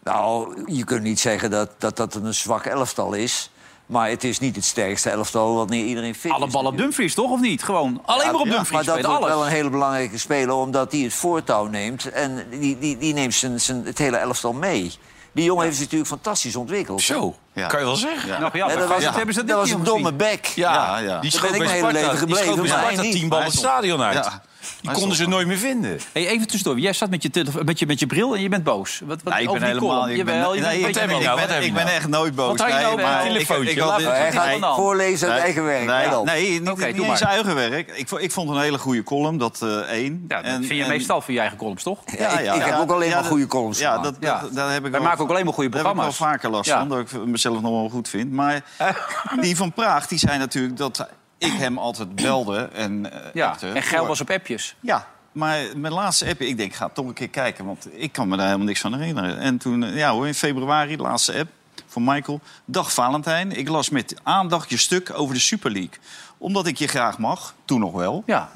Speaker 3: Nou, je kunt niet zeggen dat dat, dat een zwak elftal is. Maar het is niet het sterkste elftal wat niet iedereen fit
Speaker 1: Alle
Speaker 3: is.
Speaker 1: bal op Dumfries, toch? Of niet? Gewoon alleen maar op
Speaker 3: Ja,
Speaker 1: Dumfries.
Speaker 3: Maar dat
Speaker 1: spelen,
Speaker 3: wordt
Speaker 1: alles.
Speaker 3: wel een hele belangrijke speler, omdat die het voortouw neemt. En die, die, die neemt zijn, zijn, het hele elftal mee. Die jongen heeft zich natuurlijk fantastisch ontwikkeld.
Speaker 2: Zo,
Speaker 4: Ja.
Speaker 2: kan je wel zeggen.
Speaker 4: Ja.
Speaker 1: Nou ja,
Speaker 3: Nee,
Speaker 1: bij
Speaker 3: dat was,
Speaker 1: Feyenoord hebben ze dat
Speaker 3: dat was
Speaker 1: dit
Speaker 3: een
Speaker 1: keer
Speaker 3: domme
Speaker 1: gezien.
Speaker 3: bek.
Speaker 4: Ja, ja.
Speaker 2: Die
Speaker 3: Daar
Speaker 2: schoot
Speaker 3: ben
Speaker 2: bij
Speaker 3: ik mijn hele
Speaker 2: Sparta,
Speaker 3: leven
Speaker 2: die schoot bij
Speaker 3: gebleven, maar
Speaker 2: Sparta
Speaker 3: hij niet.
Speaker 2: tien ballen het stadion uit.
Speaker 4: Ja.
Speaker 2: Die konden ze nooit meer vinden.
Speaker 1: Hey, even tussendoor. Jij staat met je, telefo- met je, met je bril en je bent boos. Wat, wat,
Speaker 4: Nee, ik
Speaker 1: over
Speaker 4: ben
Speaker 1: die
Speaker 4: helemaal...
Speaker 1: column.
Speaker 4: Ik ben,
Speaker 1: Jawel, je
Speaker 4: nee,
Speaker 1: bent een
Speaker 4: ik
Speaker 1: beetje
Speaker 4: ben,
Speaker 1: boos.
Speaker 4: ik
Speaker 2: Wat heb
Speaker 4: ben,
Speaker 2: je
Speaker 4: ik
Speaker 2: nou?
Speaker 4: ben echt nooit boos.
Speaker 2: Wat had je
Speaker 4: nee,
Speaker 2: nou met
Speaker 4: maar
Speaker 2: een
Speaker 4: ik- ik-
Speaker 2: telefoontje?
Speaker 4: ik had
Speaker 2: Laat
Speaker 4: dit-
Speaker 2: het.
Speaker 3: Hij
Speaker 1: gaat
Speaker 3: gaat
Speaker 1: dan?
Speaker 3: voorlezen uit
Speaker 4: Nee,
Speaker 3: eigen werk.
Speaker 4: Nee,
Speaker 3: let op.
Speaker 4: nee niet,
Speaker 1: Oké,
Speaker 4: niet
Speaker 1: doe
Speaker 4: eens
Speaker 1: maar.
Speaker 4: eigen werk. Ik, vo- ik vond een hele goede column, dat eh één.
Speaker 1: Ja, dat
Speaker 4: En-
Speaker 1: vind je
Speaker 4: en-
Speaker 1: meestal voor je eigen columns, toch?
Speaker 3: Ja, ik- ik heb ook alleen maar
Speaker 4: dat-
Speaker 3: goede columns
Speaker 4: Ja,
Speaker 3: gemaakt.
Speaker 4: dat,
Speaker 1: Ja.
Speaker 4: dat, daar heb
Speaker 1: Wij
Speaker 4: ik wel-
Speaker 1: maken ook alleen maar goede
Speaker 4: Daar heb
Speaker 1: programma's.
Speaker 4: ik wel vaker last
Speaker 1: Ja.
Speaker 4: van, dat ik mezelf nog wel goed vind.
Speaker 1: [laughs]
Speaker 4: Maar die van Praag, die zei natuurlijk dat ik hem altijd belde. En, eh,
Speaker 1: Ja,
Speaker 4: appte
Speaker 1: en geil
Speaker 4: voor-
Speaker 1: was op appjes.
Speaker 4: Ja, maar mijn laatste app, ik denk, ik ga toch een keer kijken. Want ik kan me daar helemaal niks van herinneren. En toen, eh, ja hoor, in februari, de laatste app. van Michael. Dag Valentijn, ik las met aandacht je stuk over de Super League. Omdat ik je graag mag, toen nog wel,
Speaker 1: ja.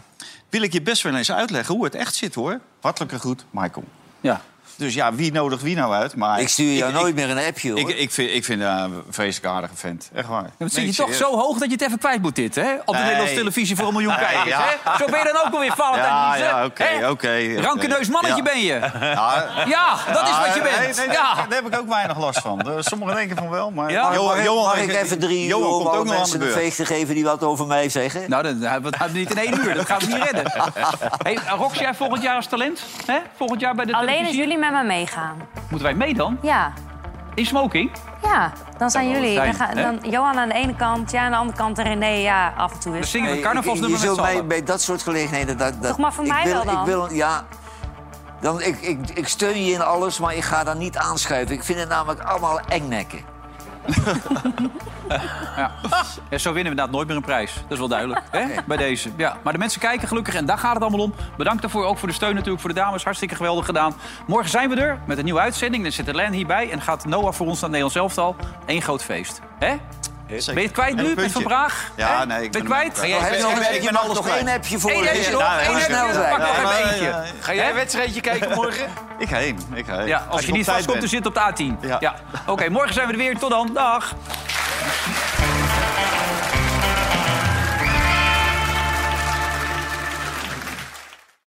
Speaker 4: wil ik je best wel eens uitleggen hoe het echt zit hoor. Hartelijke groet, Michael.
Speaker 1: Ja.
Speaker 4: Dus ja, wie nodigt wie nou uit? Maar
Speaker 3: Ik stuur jou nooit meer een appje, hoor.
Speaker 4: Ik, ik vind, ik vind eh, een vreselijk aardige vent. Echt waar.
Speaker 1: Dan zit
Speaker 4: Nee,
Speaker 1: je
Speaker 4: ik
Speaker 1: toch
Speaker 4: serieus.
Speaker 1: zo hoog dat je het even kwijt moet, dit, hè? Op de
Speaker 4: Nee.
Speaker 1: Nederlandse televisie voor een miljoen
Speaker 4: [laughs] Nee,
Speaker 1: kijkers,
Speaker 4: ja.
Speaker 1: hè? Zo ben je dan ook alweer Valentijn
Speaker 4: Ja,
Speaker 1: Lies, hè?
Speaker 4: ja, oké,
Speaker 1: Hè?
Speaker 4: oké, oké.
Speaker 1: Rankeneus mannetje
Speaker 4: Ja.
Speaker 1: ben je. [laughs]
Speaker 4: Ja.
Speaker 1: Ja, dat is wat je
Speaker 4: Nee,
Speaker 1: bent.
Speaker 4: nee,
Speaker 1: Ja.
Speaker 4: Daar, daar heb ik ook weinig last van. Eh, Sommigen denken van wel, maar...
Speaker 1: Ja? Mag-
Speaker 4: Johan,
Speaker 3: mag ik-
Speaker 4: Johan-
Speaker 3: mag ik even drie uur
Speaker 4: Johan
Speaker 3: om
Speaker 4: komt
Speaker 3: alle
Speaker 4: ook nog aan de
Speaker 3: mensen een
Speaker 4: beurt.
Speaker 3: veeg te geven die wat over mij zeggen?
Speaker 1: Nou, dat hebben we het niet in één uur. Dat gaan we niet redden. Hey, Rox, jij volgend jaar als talent? Hè? Volgend jaar bij de
Speaker 5: Alleen als
Speaker 1: televisie?
Speaker 5: jullie met me meegaan.
Speaker 1: Moeten wij mee dan?
Speaker 5: Ja,
Speaker 1: In smoking?
Speaker 5: ja. Dan zijn
Speaker 1: wel
Speaker 5: jullie.
Speaker 1: zijn,
Speaker 5: dan, ga-
Speaker 1: hè?
Speaker 5: dan Johan aan de ene kant, jij aan de andere kant en René ja, af en toe.
Speaker 1: Dan
Speaker 5: Is
Speaker 1: zingen we het
Speaker 3: je,
Speaker 1: carnavalsnummer met
Speaker 3: zult
Speaker 1: z'n
Speaker 3: mij
Speaker 1: allen.
Speaker 3: bij dat soort gelegenheden... Dat, dat,
Speaker 5: Toch maar voor
Speaker 3: ik
Speaker 5: mij
Speaker 3: wil,
Speaker 5: wel dan?
Speaker 3: Ik wil, ja, dan ik, ik, ik steun je in alles, maar ik ga daar niet aanschuiven. Ik vind het namelijk allemaal engnekken.
Speaker 1: Ja, zo winnen we inderdaad nooit meer een prijs. Dat is wel duidelijk. Hè? Bij deze. Ja. Maar de mensen kijken gelukkig en daar gaat het allemaal om. Bedankt daarvoor. Ook voor de steun natuurlijk voor de dames. Hartstikke geweldig gedaan. Morgen zijn we er met een nieuwe uitzending. Dan zit Len hierbij en gaat Noah voor ons naar het Nederlands elftal. Eén groot feest. Hè? Ben je het kwijt nu?
Speaker 4: Een
Speaker 1: Ben je
Speaker 4: puntje.
Speaker 1: Van Praag?
Speaker 4: Ja,
Speaker 1: Hè?
Speaker 4: nee, ik
Speaker 1: ben je
Speaker 4: ben-
Speaker 1: het
Speaker 4: Ga
Speaker 1: kwijt?
Speaker 4: jij-
Speaker 3: Heb je
Speaker 4: ben-
Speaker 3: nog
Speaker 4: ik
Speaker 3: een
Speaker 4: ben- ik
Speaker 3: appje?
Speaker 4: ben
Speaker 3: Mag
Speaker 4: alles
Speaker 3: nog
Speaker 4: kwijt.
Speaker 3: één appje voor?
Speaker 1: Eén
Speaker 3: je?
Speaker 1: appje nog,
Speaker 3: Ja,
Speaker 1: één
Speaker 3: heel
Speaker 1: appje
Speaker 3: snel
Speaker 1: nog.
Speaker 3: zijn.
Speaker 1: Pak nog
Speaker 4: Ja,
Speaker 1: even
Speaker 4: maar,
Speaker 1: eentje.
Speaker 4: eh,
Speaker 23: Ga jij een wedstrijdje kijken morgen?
Speaker 4: Ik ga heen, ik ga heen.
Speaker 1: Ja, als,
Speaker 4: ik
Speaker 1: je
Speaker 4: op
Speaker 1: niet
Speaker 4: tijd
Speaker 1: vastkomt,
Speaker 4: ben.
Speaker 1: dan zit het op de A10. Ja.
Speaker 4: Ja.
Speaker 1: Oké, morgen zijn we er weer. Tot dan. Dag.